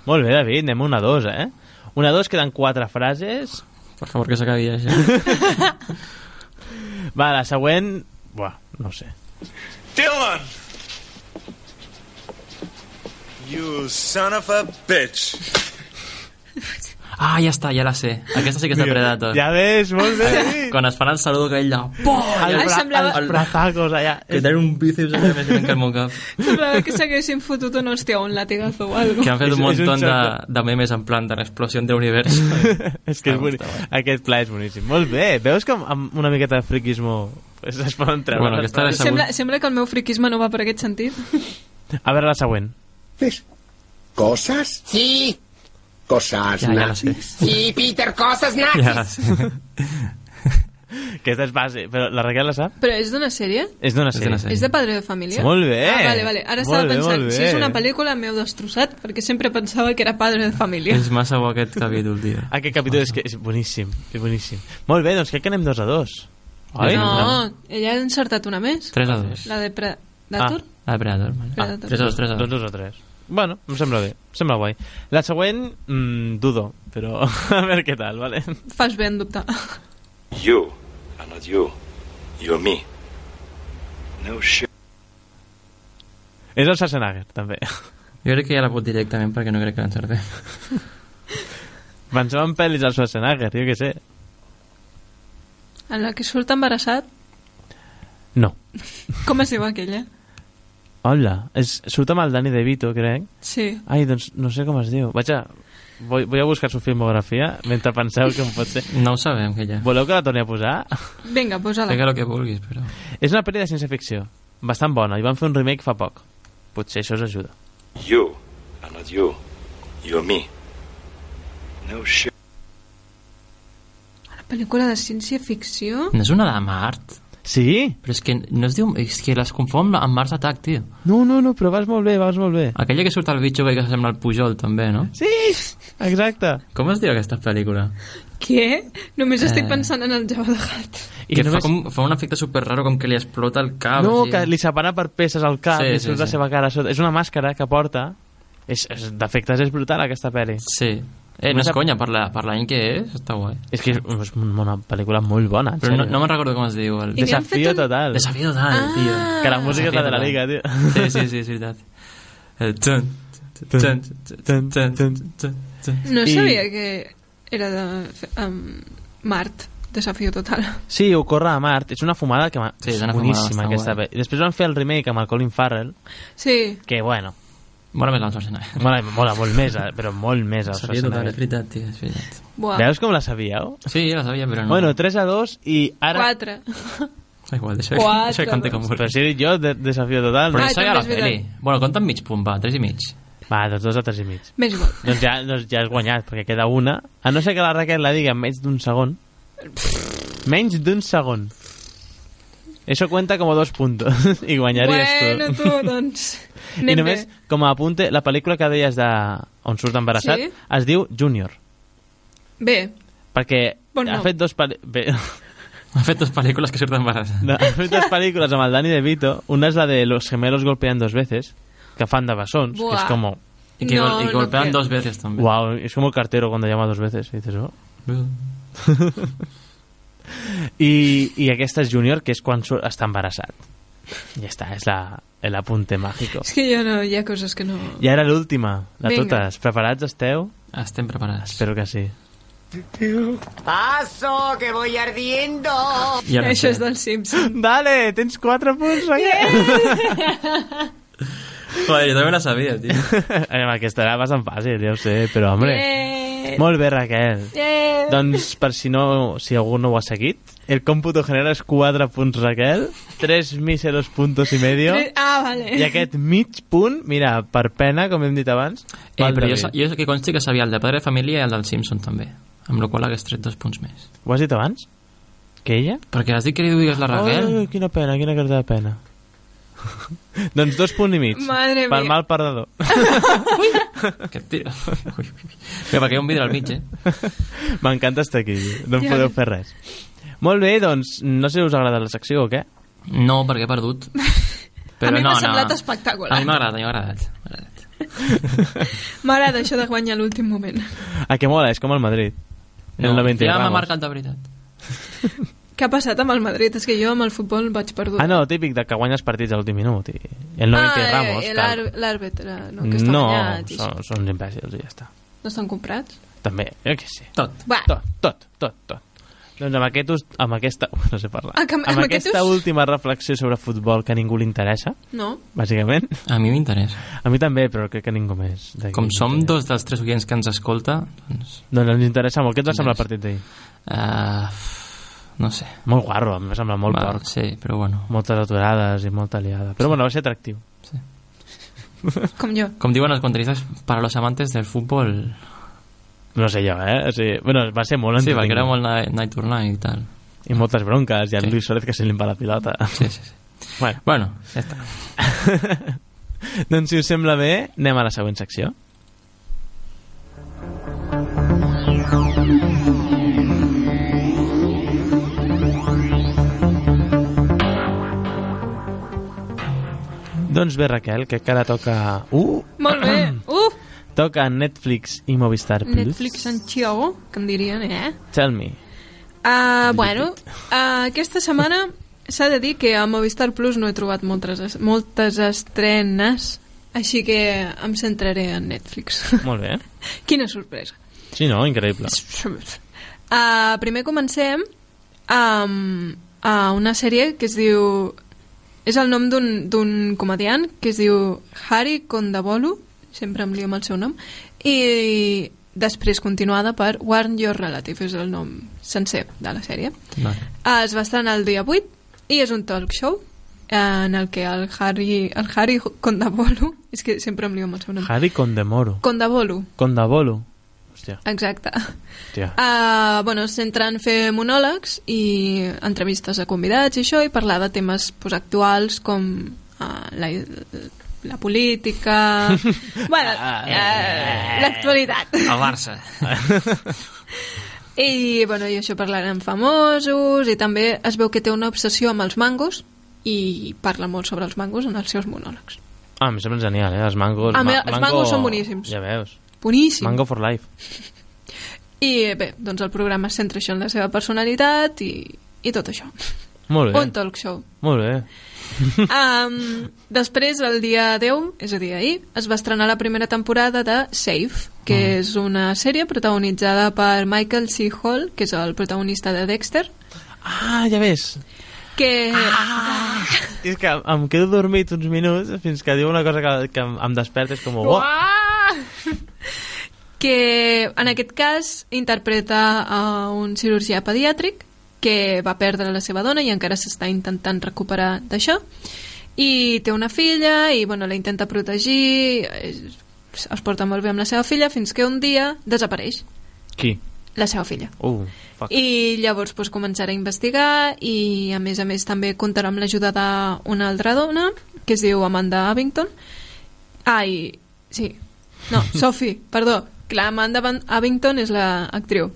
Molt bé, David, anem una dos, eh? Una dos, queden quatre frases. Per favor, que s'acabi això. Va, la següent... Buah, no ho sé. Dylan! You son of a bitch. Ah, ja està, ja la sé. Aquesta sí que és de Predator. Ja ves, molt bé, David. Quan es fan el saludo que ell de... Pum! El, Ai, bra semblava- els brazacos allà. Que tenen un bíceps allà més gran que el meu cap. Semblava que s'haguessin fotut un hòstia o un latigazo o algo. Que han fet És- un és un muntó de, xoc. de memes en plan de l'explosió de l'univers. és Ah, que és bonic. Aquest pla és boníssim. Molt bé. Veus que amb- amb una miqueta de friquismo pues, es poden treure. Bueno, les aquesta frases? és- segur. Sembla, sembla que el meu friquisme no va per aquest sentit. A veure la següent. ¿Ves? ¿Cosas? Sí, Cosas Ja, ja la sé. nazis. sí, Peter, cosas nazis. Ja la sé. Aquesta és base, però la Raquel la sap? Però és d'una sèrie? És d'una És sèrie. d'una sèrie. És de Padre de Família? Molt bé. Ah, vale, vale. Ara estava Molt bé, pensant, molt si bé. és una pel·lícula m'heu destrossat, perquè sempre pensava que era Padre de Família. És massa bo aquest capítol, tio. Ah, Aquest capítol és, que és boníssim, és boníssim. Molt bé, doncs crec que anem dos a dos. Oi? No, ella ha encertat una més. 3 a 2. La de Predator? Ah. Ah, Predator. Vale. Ah, Predator. 3 a 2, 3 a Doncs 2. dos o tres. Bueno, em sembla bé, em sembla guai. La següent, mmm, dudo, però a veure què tal, vale? Fas bé en dubtar. You are not you. You're me. No shit. És el Schwarzenegger, també. Jo crec que ja la pot directament perquè no crec que l'encerté. Pensava en pel·lis al Schwarzenegger, jo què sé. En la que surt embarassat, No. com es diu aquella? Hola, és, surt amb el Dani De Vito, crec. Sí. Ai, doncs no sé com es diu. Vaig a... Vull, vull a buscar su filmografia mentre penseu que em pot ser. No ho sabem, que ja. Voleu que la torni a posar? Vinga, posa-la. Fega el que vulguis, però... És una pel·li de ciència-ficció, bastant bona, i van fer un remake fa poc. Potser això us ajuda. You are not you. You're me. No shit. Una pel·lícula de ciència-ficció? No és una de Mart? Sí? Però és que no es diu... És que les confon amb Mars Attack, tio. No, no, no, però vas molt bé, vas molt bé. Aquella que surt al bitxo que sembla el Pujol, també, no? Sí, exacte. Com es diu aquesta pel·lícula? Què? Només Eh. estic pensant en el Java de Hutt. I que només... fa, com, fa un efecte super raro com que li explota el cap. no, així. que li separa per peces al cap Sí, sí, i sí, surt sí, la sí. seva cara a sota. És una màscara que porta. És, és, D'efectes és brutal, aquesta pel·li. Sí. Eh, no és conya, per la- per l'any que és, està guai. És que és, és una pel·lícula molt bona, en Però no, sèrio. no me'n recordo com es diu. El... I n'hi han fet Desafío un- total. Desafío total, ah. tio. Que la música és la de la Liga, tio. Sí, sí, sí, és veritat. El tun, tun, tun, tun, tun, tun, tun, tun. No I- sabia que era de um, Mart, desafío total. Sí, ho corre a Mart. És una fumada que sí, Sí, és és, una fumada boníssima, bastant aquesta guai. pel·li. I després van fer el remake amb el Colin Farrell, Sí, que, bueno, Mola més la Schwarzenegger. mola, mola molt més, eh, però molt més. El Sabia total, és Schwarzenegger. veritat, tio, és veritat. buah. Veus com la sabíeu? Sí, la sabia, però no. Bueno, 3 a 2 i ara... Quatre. Da igual, deixa, Quatre. deixa que conté com Però vulguis. si he dit jo, de, desafío total. Però No? Ah, això ja la també és peli. veritat. Bueno, compta amb mig punt, va, tres i mig. Va, doncs 2 a 3 i mig. Més igual. Doncs ja, doncs ja has guanyat, perquè queda una. A no ser que la Raquel la digui en menys d'un segon. Menys d'un segon. Eso cuenta como dos puntos. I guanyaries Bueno, tu. tu, doncs... I Anem només, bé. com a apunte, la pel·lícula que deies de... on surt embarassat Sí. es diu Junior. Bé, Perquè Bon ha nom. fet dos pel·li- bé, Ha fet dues pel·lícules que surten embarassades. no, ha fet dos pel·lícules amb el Dani De Vito. Una és la de Los gemelos golpean dos veces, que fan de bessons, que Buah. és com... I que, No, gol, i que no golpeen creo. dos veces també. Wow, és com el cartero quan llama dos veces. I dices, oh. I, i aquesta és Junior, que és quan surt, està embarassat. Ja està, és la, el apunte màgico. és que jo no... Hi ha coses que no... I ara l'última, de Vinga. totes. Preparats esteu? Estem preparats. Espero que sí. ¡Paso, que voy ardiendo! I ara Això Això és del Simpson. Vale, tens quatre punts, Raquel. Joder, jo també la sabia, tio. Yeah. aquesta era bastant fàcil, ja ho sé, però, home... Eh, Molt bé, Raquel. eh. Doncs, per si no, si algú no ho ha seguit, el còmputo genera és 4 punts, Raquel, 3 míseros puntos i medio, Tre- Ah, vale. i aquest mig punt, mira, per pena, com hem dit abans, Eh, val però de jo, sa- bé. jo que consti que sabia el de Padre de Família i el del Simpson també. Amb la qual cosa hagués tret dos punts més. Ho has dit abans? Que ella? Perquè has dit que li digues la Raquel? Ai, quina pena, quina carta de pena. doncs dos punts i mig. Madre pel mia. mal perdedor. Que tira. Ui, ui, ui. Mira, perquè hi ha un vidre al mig, eh? M'encanta estar aquí, no em Ja. podeu fer res. Molt bé, doncs, no sé si us ha agradat la secció o què. No, perquè he perdut. Però A mi no, m'ha no. semblat espectacular. A mi m'ha agradat, a mi m'ha agradat. M'ha agradat. M'agrada això de guanyar a l'últim moment. A que mola, és com el Madrid. El 90 ja m'ha Ramos. marcat de veritat. Què ha passat amb el Madrid? És que jo amb el futbol vaig perdut. Ah, no, típic de que guanyes partits a l'últim minut. I el 90 eh, Ramos... eh, tal. l'àr- L'àrbitre, no, que està no, guanyat. i són, són imbècils i ja està. això. No estan comprats? També, jo què sé. Tot. Va, Tot, tot, tot, tot. Doncs amb, aquest, us- amb aquesta... No sé parlar. Ah, que amb- amb amb aquest aquesta us- última reflexió sobre futbol que a ningú li interessa, no? bàsicament, A mi m'interessa. a mi també, però crec que a ningú més. d'aquí. Com som dos dels tres oients que ens escolta, doncs... Doncs ens interessa molt. Què et va semblar el partit d'ahir? Uh, no sé. Molt guarro, em va semblar molt Va, porc. Sí, però bueno. Moltes aturades i molta liada. Però bueno, va ser atractiu. Com jo. Com diuen els contraristes, para los amantes del futbol... No sé jo, eh? O sigui, bueno, va ser molt Sí, perquè entretingut. era molt night, night to night i tal. I moltes bronques, i el Sí. Luis Suárez que se limpa la pilota. Sí, sí, sí. Bueno, Bueno, ja està. doncs si us sembla bé, anem a la següent secció. Doncs bé, Raquel, que encara toca... Uh! Molt bé. Uh, Toca Netflix i Movistar Plus. Netflix en Chiao, que em dirien, eh? Tell me. Uh, bueno, uh, aquesta setmana s'ha de dir que a Movistar Plus no he trobat moltes, es- moltes estrenes, així que em centraré en Netflix. Molt bé. Quina sorpresa. Sí, no? Increïble. Uh, primer comencem amb uh, una sèrie que es diu... És el nom d'un d'un comediant que es diu Harry Condabolu, sempre em lio amb el seu nom, i després continuada per Warn Your Relative, és el nom sencer de la sèrie. Vale. Eh, Es va estrenar el dia 8 i és un talk show eh, en el que el Harry, el Harry Condabolu, és que sempre em lio amb el seu nom, Harry Condemoro. Condabolu, Condabolo. Hòstia, exacte, hòstia. Uh, bueno, es centra en fer monòlegs i entrevistes a convidats i això, i parlar de temes pues, actuals com uh, la, la política... Ah, eh, eh, bueno, uh, l'actualitat. El Barça. I, bueno, i això parlarem famosos, i també es veu que té una obsessió amb els mangos, i parla molt sobre els mangos en els seus monòlegs. Ah, em sembla genial, eh? Els mangos... Ah, mira, els mangos són boníssims. Ja veus. Boníssim. Mango for life. I bé, doncs el programa es centra això en la seva personalitat i, i tot això. Molt bé. Un talk show. Molt bé. Um, després, el dia 10, és a dir, ahir, es va estrenar la primera temporada de Safe, que mm. és una sèrie protagonitzada per Michael C. Hall, que és el protagonista de Dexter, Ah, ja ves. que... És que em quedo dormit uns minuts fins que diu una cosa que, que em, em desperta, és com... Oh, Ah! que en aquest cas interpreta a un cirurgià pediàtric que va perdre la seva dona i encara s'està intentant recuperar d'això i té una filla i bueno, la intenta protegir es, es porta molt bé amb la seva filla fins que un dia desapareix Qui? la seva filla Uh, fuck. i llavors doncs, començarà a investigar i a més a més també comptarà amb l'ajuda d'una altra dona que es diu Amanda Abington ai, sí no, Sophie, perdó la Amanda Van- Abington és la actriu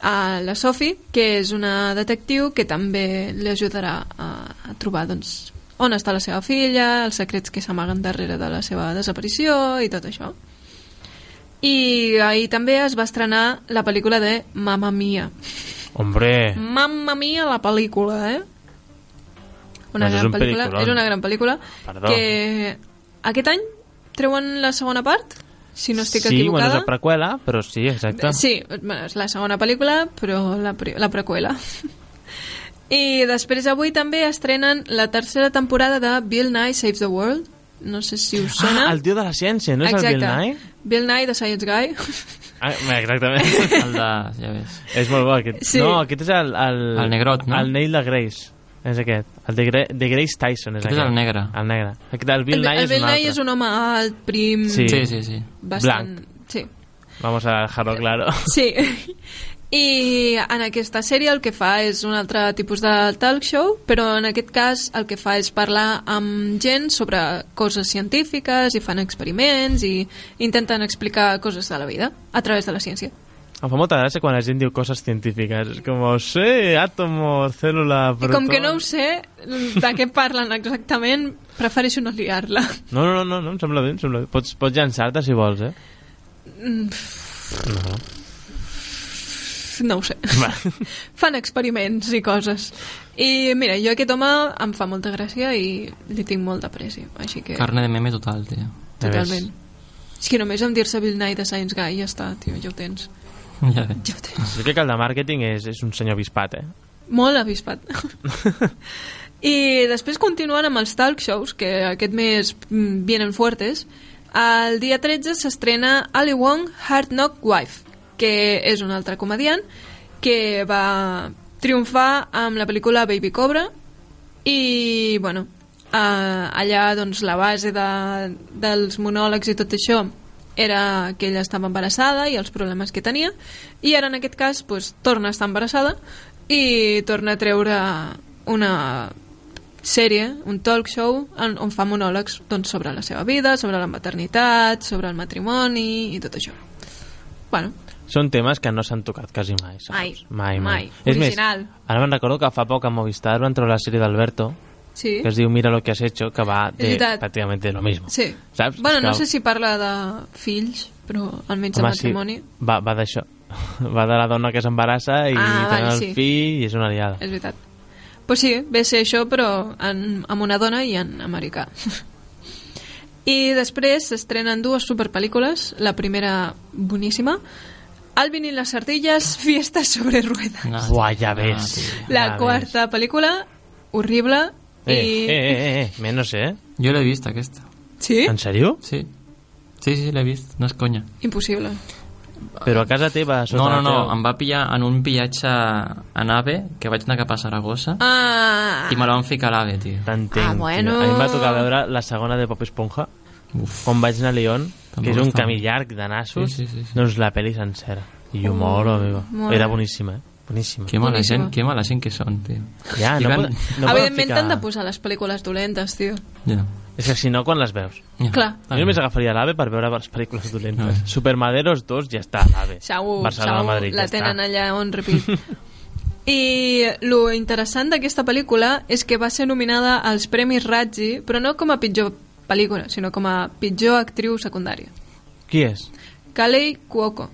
a la Sophie, que és una detectiu que també li ajudarà a, a trobar doncs, on està la seva filla, els secrets que s'amaguen darrere de la seva desaparició i tot això. I ahir també es va estrenar la pel·lícula de Mamma Mia. Hombre, Mamma Mia, la pel·lícula, eh? Una Doncs és gran un pel·lícula. peliculón. És una gran pel·lícula. Perdó. Que aquest any treuen la segona part, si no estic sí, bueno, equivocada. és la preqüela, però sí, exacte. Sí, bueno, és la segona pel·lícula, però la, pre la preqüela. I després avui també estrenen la tercera temporada de Bill Nye Saves the World. No sé si us sona. Ah, el tio de la ciència, no és Exacte. el Bill Nye? Bill Nye, The Science Guy. Ah, exactament. El de, ja ves. és molt bo aquest. Sí. No, aquest és el... El, El negrot, no? El Neil de Grace. És aquest. El de, Gra de Grace Tyson és Aquest és aquest. el negre. El negre. Aquest, el Bill el, Nye el Bill és un Nye altre. és un home alt, prim, Sí. Sí, sí, sí. bastant... blanc. Sí. Vamos a dejarlo claro. Sí. I en aquesta sèrie el que fa és un altre tipus de talk show, però en aquest cas el que fa és parlar amb gent sobre coses científiques i fan experiments i intenten explicar coses de la vida a través de la ciència. Em fa molta gràcia quan la gent diu coses científiques. És com, "Oh, sí, àtomo, cèl·lula, I protó... com que no ho sé de què parlen exactament, prefereixo no liar-la. No, no, no, no, no, em sembla bé, em sembla bé. Pots, pots llançar-te si vols, eh? No ho sé. Fan experiments i coses. I mira, jo aquest home em fa molta gràcia i li tinc molt d'apreci. Així que... Carne de meme total, tio. Ja ves. Totalment. És que només amb dir-se Bill Nye de Science Guy ja està, tio, ja ho tens. Ja ves. Ja ho tens. Jo crec que el de màrqueting és, és un senyor bispat, eh? Molt avispat. I després continuant amb els talk shows, que aquest mes mm, vienen fuertes, el dia 13 s'estrena Ali Wong Hard Knock Wife, que és un altre comediant que va triomfar amb la pel·lícula Baby Cobra i, bueno, eh, allà doncs, la base de, dels monòlegs i tot això era que ella estava embarassada i els problemes que tenia i ara en aquest cas doncs, torna a estar embarassada i torna a treure una sèrie, un talk show on, on fa monòlegs doncs, sobre la seva vida, sobre la maternitat, sobre el matrimoni i tot això. Bueno, Són temes que no s'han tocat quasi mai, saps? Mai. Mai, mai. Mai. És Original. més, ara me'n recordo que fa poc a Movistar van treure la sèrie d'Alberto, sí. que es diu Mira lo que has hecho, que va de, veritat. pràcticament de lo mismo. Sí. Saps? Bueno, És que- no sé si parla de fills, però almenys de Home, matrimoni. Sí, va va d'això. Va de la dona que s'embarassa i Ah, tenen vale, el sí. fill i és una liada. És veritat. Pues sí, ve a ser això, però en, amb una dona i en americà. I després s'estrenen dues superpel·lícules. La primera, boníssima, Alvin y las ardillas, fiestas sobre ruedas. No, Buah, ja Ah, ves. tio. ja La ves. quarta pel·lícula, horrible, Eh, i... eh, eh, eh, menos, eh? Jo l'he vist, aquesta. Sí? En sèrio? Sí. Sí, sí, l'he vist. No és conya. Impossible. Però a casa teva, sota No, no, el no, teu- em va pillar en un pillatge a nave que vaig anar cap a Saragossa Ah! i me la van ficar a l'AVE, tio. T'entenc, Ah, tio. bueno. A mi em va tocar veure la segona de Pop Esponja, Uf. quan vaig anar a Lyon, També que és un bastant. camí llarg de nassos, Sí, sí, sí, sí. doncs la pel·li sencera. I jo moro, amigo. Oh, molt Era bé. boníssima, eh? Boníssima. Que mala Boníssima. gent, que mala gent que són, tio. Ja, I no, van- poden- no poden Evidentment ficar... t'han de posar les pel·lícules dolentes, tio. Ja. És que si no, quan les veus? Ja. Clar. Jo només agafaria l'AVE per veure les pel·lícules dolentes. Ah. Supermaderos 2 ja està, l'AVE. Segur, Barcelona, segur, Madrid, la ja tenen està. allà on repeat. I lo interessant d'aquesta pel·lícula és que va ser nominada als Premis Razzie, però no com a pitjor pel·lícula, sinó com a pitjor actriu secundària. Qui és? Kalei Cuoco.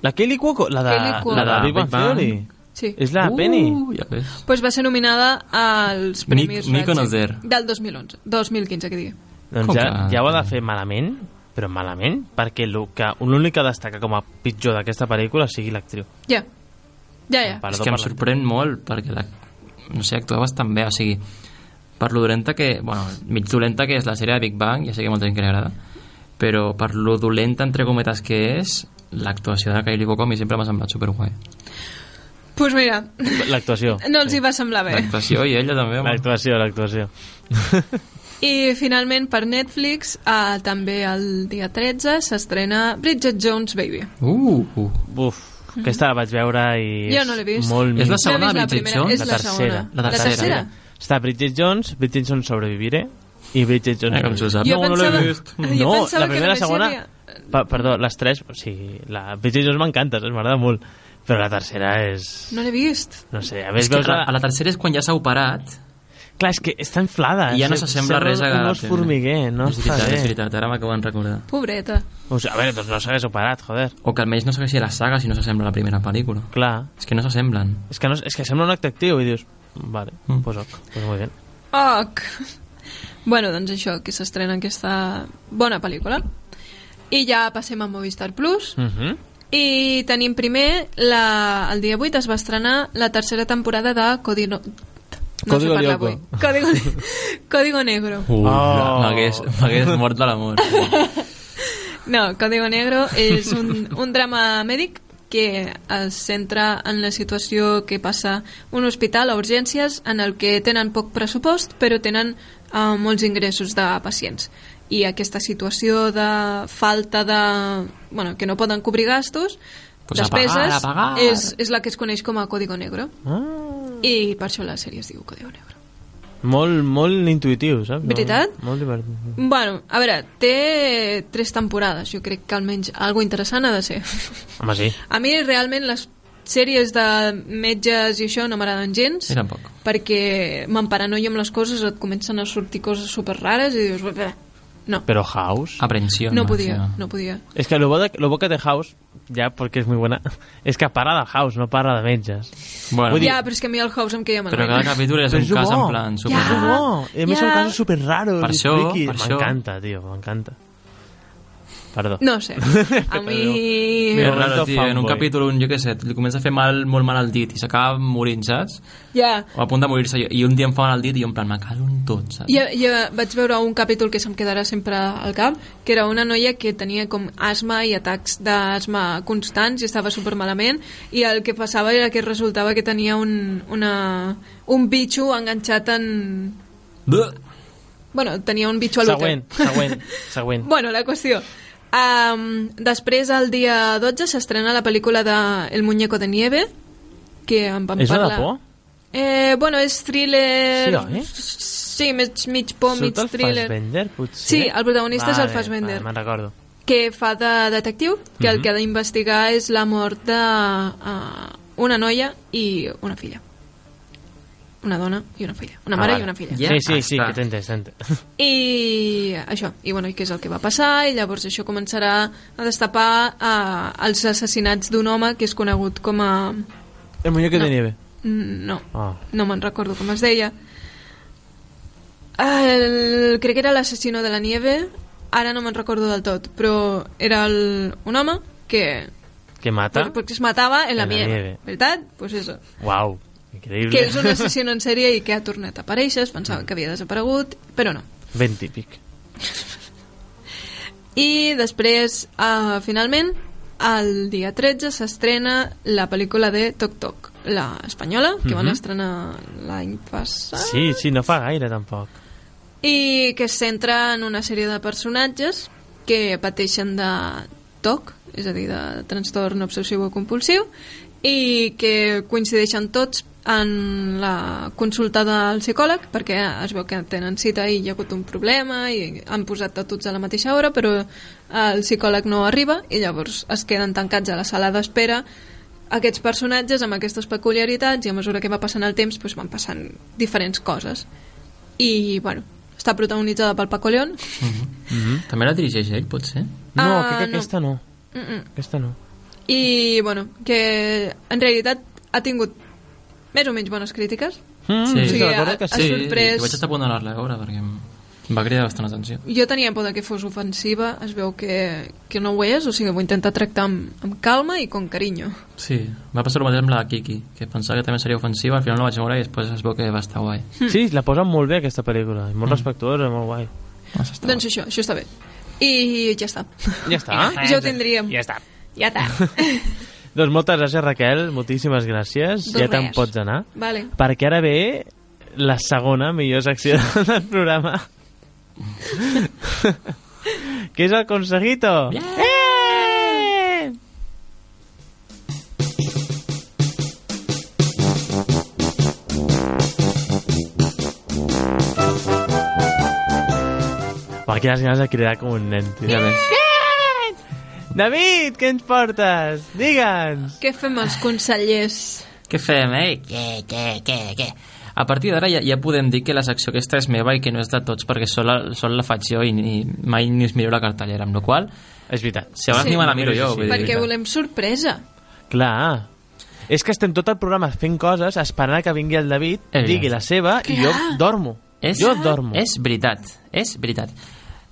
La Kelly Cuoco? La de, Kelly Cuoco. la de Big Big Bang Bang. Theory? Sí. És la Penny? Uh, ja ves. Pues va ser nominada als Ni- Premis ni Razzie conocer. del 2011, 2015, que digui. Doncs ja, Com que- ja ho ha de fer malament, però malament, perquè lo que- l'únic que destaca com a pitjor d'aquesta pel·lícula sigui l'actriu. Ja, ja, ja. Perdó és que per em la- sorprèn molt perquè la, no sé, actuaves tan bé o sigui, per lo dolenta que bueno, mig dolenta que és la sèrie de Big Bang ja sé que a molta gent que li agrada però per lo dolenta entre cometes que és l'actuació de Kylie Cuoco a mi sempre m'ha semblat superguai Pues mira, L'actuació. no els hi va semblar bé. l'actuació i ella també home. L'actuació, l'actuació. I finalment per Netflix, eh, també el dia 13, s'estrena Bridget Jones Baby. uh, uh. Buf, aquesta la vaig veure i Mm-hmm. Jo és no l'he vist. molt És la minsa. segona No he vist de la Bridget primera, Jones? és la la tercera. segona. La tercera, tercera? mira. Està Bridget Jones, Bridget Jones sobreviviré i Bridget Jones... Eh, com s'ho sap. Jo No, no l'he pensava, vist. Jo no, pensava la primera, la que només hi segona... havia- Pa, perdó, les tres... O sigui, la Bridget Jones m'encanta, saps? m'agrada molt. Però la tercera és... No l'he vist. No sé, a És més que veus... la, La, a la tercera és quan ja s'ha operat Clar, és que està inflada. i ja no Se- s'assembla Ah, sembla res a... Un os formiguer, no és està veritat, és bé. veritat, ara m'acabo de recordar Pobreta. O sigui, a veure, doncs no s'hagués operat, joder. o que almenys no segueixi la saga si no s'assembla a la primera pel·lícula Clar. és que no s'assemblen És que, no, és que sembla un acte actiu i dius... Vale, Mm. pues ok, pues muy bien. Oc! Bueno, doncs això, que s'estrena aquesta bona pel·lícula. I ja passem a Movistar Plus. Uh Mhm. -huh. I tenim primer, la, el dia 8 es va estrenar la tercera temporada de Codino... No sé Código parlar Lyoko. avui. Código, Código Negro. Uh, Oh. m'hagués m'hagués mort de l'amor. No, Código Negro és un, un drama mèdic que es centra en la situació que passa un hospital a urgències en el que tenen poc pressupost però tenen eh, molts ingressos de pacients i aquesta situació de falta de... Bueno, que no poden cobrir gastos Pues a despeses pagar, a pagar. És, és la que es coneix com a Código Negro Ah, i per això la sèrie es diu Código Negro molt, molt intuitiu, saps? No, Veritat? Molt divertit. Bueno, a veure, té tres temporades jo crec que almenys algo interessant ha de ser Home, sí. A mi realment les sèries de metges i això no m'agraden gens I tampoc. perquè m'emparanoio amb les coses et comencen a sortir coses super rares i dius "Bé, bé, no, Pero House... Aprensió. no macho. podia no podia Es que lo bo, de, lo bo que té House, ja perquè és muy buena, és que parla de House, no parla de metges. Bueno, Vull dir- ja, però és que a mi el House em queia però malament cada capítol és un és cas en bo. plan super... És bo. I a més ja. són casos super raros. Per i això, frikis. per això. M'encanta, tio, m'encanta. Perdó. no sé, a mi Mira. És raro, Momento tio, en un fanboy. capítol, un, jo què sé, li comença a fer mal, molt mal al dit i s'acaba morint, saps? ja O a punt de morir-se, i un dia em fa mal al dit i jo en plan, me cago en tot, saps? ja, ja vaig veure un capítol que se'm quedarà sempre al cap, que era una noia que tenia com asma i atacs d'asma constants i estava super malament i el que passava era que resultava que tenia un, una, un bitxo enganxat en... Buh! Bueno, tenia un bitxo a Següent, l'úter. següent, següent. Bueno, la qüestió. Um, després, el dia 12, s'estrena la pel·lícula de El muñeco de nieve, que en vam És una parlar... de por? Eh, bueno, és thriller... Sí, oi? Sí, mig, mig por, mig Surt el thriller. Fassbender, potser? Sí, el protagonista és el Fassbender. Vale, me'n recordo. que fa de detectiu, que Mhm. el que ha d'investigar és la mort de uh, una noia i una filla. Una dona i una filla. Una mare Ah, vale. i una filla. Ja sí, sí, sí, està. que t'entens, t'entens. I això, i bueno, i què és el que va passar, i llavors això començarà a destapar uh, els assassinats d'un home que és conegut com a... El muñeco No. de nieve. Mm, No, Ah. no me'n recordo com es deia. El, crec que era l'assassino de la nieve, ara no me'n recordo del tot, però era el, un home que Que mata. Por- Porque se mataba en la, En la nieve, nieve. ¿verdad? Pues eso. Uau, increïble. Que és un assassino en sèrie i que ha tornat a aparèixer, es pensava que havia desaparegut, però no. Ben típic. I després, uh, finalment, el dia 13 s'estrena la pel·lícula de Toc Toc, la espanyola, que van Mhm. estrenar l'any passat. Sí, sí, no fa gaire, tampoc. i que es centra en una sèrie de personatges que pateixen de TOC, és a dir, de trastorn obsessiu compulsiu, i que coincideixen tots en la consulta del psicòleg perquè es veu que tenen cita i hi ha hagut un problema i han posat a tots a la mateixa hora però el psicòleg no arriba i llavors es queden tancats a la sala d'espera aquests personatges amb aquestes peculiaritats i a mesura que va passant el temps doncs van passant diferents coses i bueno, està protagonitzada pel Paco León Mm. Mhm. També la dirigeix ell, potser? No, Ah, crec que no. aquesta no. mm -mm. Aquesta no. i bueno, que en realitat ha tingut més o menys bones crítiques Mm, Sí. sí, Sí, sí, recordo ha- que ha sí. Sí, sorprès- vaig estar a punt d'anar-la a veure perquè em em va cridar bastant l'atenció. Jo tenia por de que fos ofensiva, es veu que, que no ho és, o sigui, ho intenta tractar amb, amb calma i con carinyo. Ah. Sí, va passar el mateix amb la Kiki, que pensava que també seria ofensiva, al final no vaig veure i després es veu que va estar guai. Sí, la posen molt bé aquesta pel·lícula, és molt respectuosa, molt guai. Va estar Doncs això, això està bé. I ja està. Ja està. ja ho tindríem. Ja està. Ja està. Doncs moltes gràcies, Raquel, moltíssimes gràcies. Doncs ja te'n res. pots anar. vale. Perquè ara ve la segona millor secció del programa. que és el Consejito. Eh! Uah, aquí les ganes de cridar com un nen, tio. Ja ves. David, què ens portes? Digue'ns. Què fem Ah. els consellers? Què fem, eh? Què, què, què, què? A partir d'ara ja, ja podem dir que la secció aquesta és meva i que no és de tots perquè sol la, sol la faig jo i, i mai ni us miro la cartellera, amb la qual És veritat. si abans Sí. ni me la miro jo. vull dir. Perquè volem sorpresa. Clar. És que estem tot el programa fent coses esperant que vingui el David, És veritat. digui la seva i jo dormo. És, Jo dormo. És veritat, és veritat.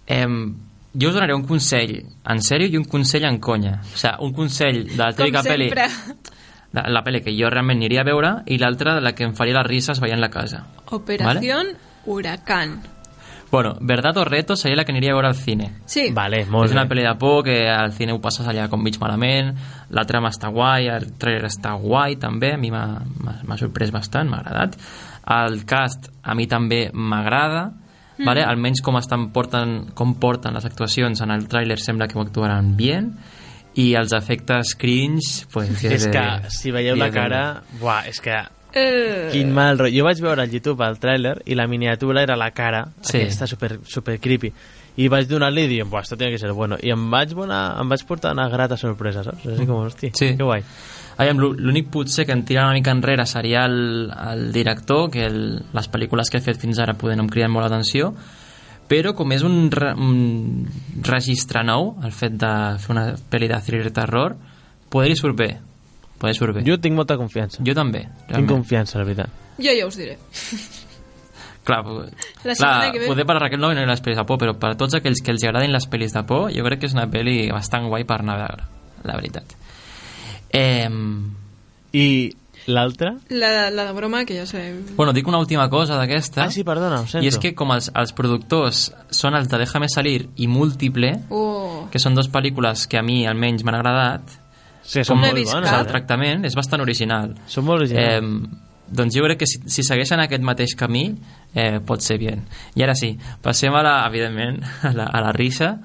Em, jo us donaré un consell en sèrio i un consell en conya. O sigui, un consell de la típica Com pel·li... sempre. de La pel·li que jo realment aniria a veure i l'altra de la que em faria les risses veient la casa. Operació Huracán. Bueno, Verdad o Reto seria la que aniria a veure al cine. Sí. Vale, molt és una bé. pel·li de por que al cine ho passes allà com mig malament, la trama està guai, el trailer està guai també, a mi m'ha- m'ha m'ha sorprès bastant, m'ha agradat. El cast a mi també m'agrada, mm. vale? almenys com, estan, porten, com porten les actuacions en el tràiler sembla que ho actuaran bé, i els efectes cringe... Pues, què És he de que dir? si veieu Què he la de cara... dir? Buah, és que... Eh, Quin mal rotllo. Jo vaig veure al YouTube el tràiler i la miniatura era la cara, Sí. sí. aquesta super, super creepy. I vaig donar-li i dient, buah, esto tiene que ser bueno. I em vaig, donar, em vaig portar una grata sorpresa, saps? És com, hosti, Sí. que guai. Aviam, l'ú- l'únic potser que em tira una mica enrere seria el, el director, que el, les pel·lícules que ha fet fins ara poder no em criden molt l'atenció, però com és un, re, un registre nou, el fet de fer una pel·li de thriller terror, poder-hi surt bé. Poder surt bé. Jo tinc molta confiança. jo també. Tinc realment. confiança, la veritat. jo ja us diré. Clar, po- La setmana clar que ve. poder per a Raquel no venen les pel·lis de por, però per a tots aquells que els agradin les pel·lis de por, jo crec que és una pel·li bastant guai per anar a veure, la veritat. Eh, I l'altra? La, la de broma, que ja sé... Bueno, dic una última cosa d'aquesta. Ah, sí, perdona, ho sento. I és que com els, els productors són els de Déjame salir i Múltiple, Oh. que són dos pel·lícules que a mi almenys m'han agradat, Sí, són No he molt vist bones. cap. el eh? tractament és bastant original. Són molt originals. Eh, doncs jo crec que si, si segueixen aquest mateix camí eh, pot ser bien. I ara sí, passem a la, evidentment a la, a la risa,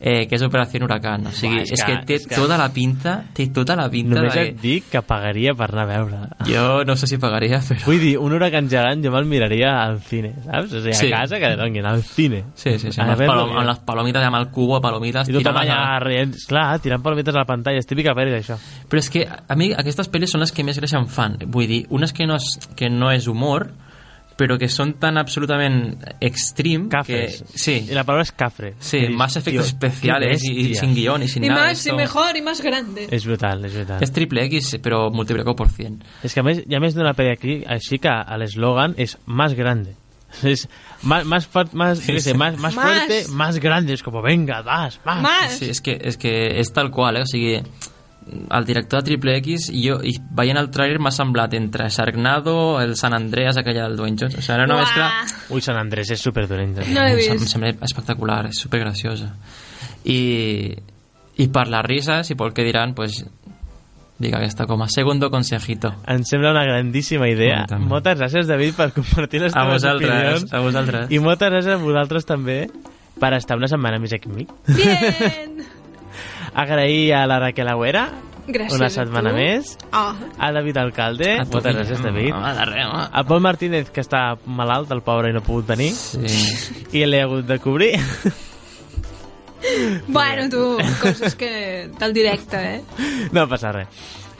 eh, que és Operació Huracán. O sigui, Buah, és és, que, que- té és que- tota la pinta, té tota la pinta Només de... et dic que pagaria per anar a veure. Jo no sé si pagaria, però... Vull dir, un huracan gegant jo me'l miraria al cine, saps? O sigui, a Sí. casa que donguin al cine. Sí, sí, sí. A Amb, les veure-lo palom amb les palomites, amb el cubo de palomites. I tothom tirant allà la- rient, clar, tirant palomites a la pantalla, és típica pel·li d'això. Però és que a mi aquestes pel·lis són les que més gràcia em fan. Vull dir, unes que no és, que no és humor, però que són tan absolutament extrem... Cafres. Que, sí, I la paraula és cafre. sí Que dius, más "Tio, efectos especiales qué y, y bèstia". sin guión y sin Y nada. Eh, más, y esto- mejor, y más grande. És brutal, és brutal. Es triple X, pero multiplicado por 100. És que a més, hi ha més d'una pel·li aquí, així que l'eslògan és más grande. És más, más, fort- más, yo qué sé, más, más Más. fuerte, más grande. És com, venga, vas, vas. Más. ah, Sí, és que, és que és tal qual, eh? O sigui, el director de Triple X i jo, i veient el tràiler m'ha semblat entre Sharknado, el San Andreas, aquella del Dwayne Johnson. O sigui, era una Uah. mescla... Ui, Sant Andrés és superdolent. No l'he Em sem- Em vist. sembla espectacular, és supergraciosa. I, i per les rises i pel que diran, pues, dic aquesta com a segundo consejito. Em sembla una grandíssima idea. A mi també. Moltes gràcies, David, per compartir les A teves vosaltres, opinions. a vosaltres. I moltes gràcies a vosaltres també per estar una setmana més aquí amb mi. Bien. Agrair a la Raquel Agüera Gràcies una a setmana tu. més. Ah, A David Alcalde, A tu, Ah. moltes gràcies, David. Guillem. Home, de res, home. A Pol Martínez, que està malalt, el pobre, i no ha pogut venir. Sí. I l'he hagut de cobrir. bueno, tu, coses que... del directe, eh? No passa res.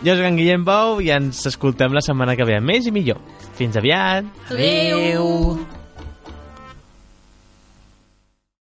Jo soc en Guillem Bou i ens escoltem la setmana que ve. Més i millor. Fins aviat. Adéu! Adéu.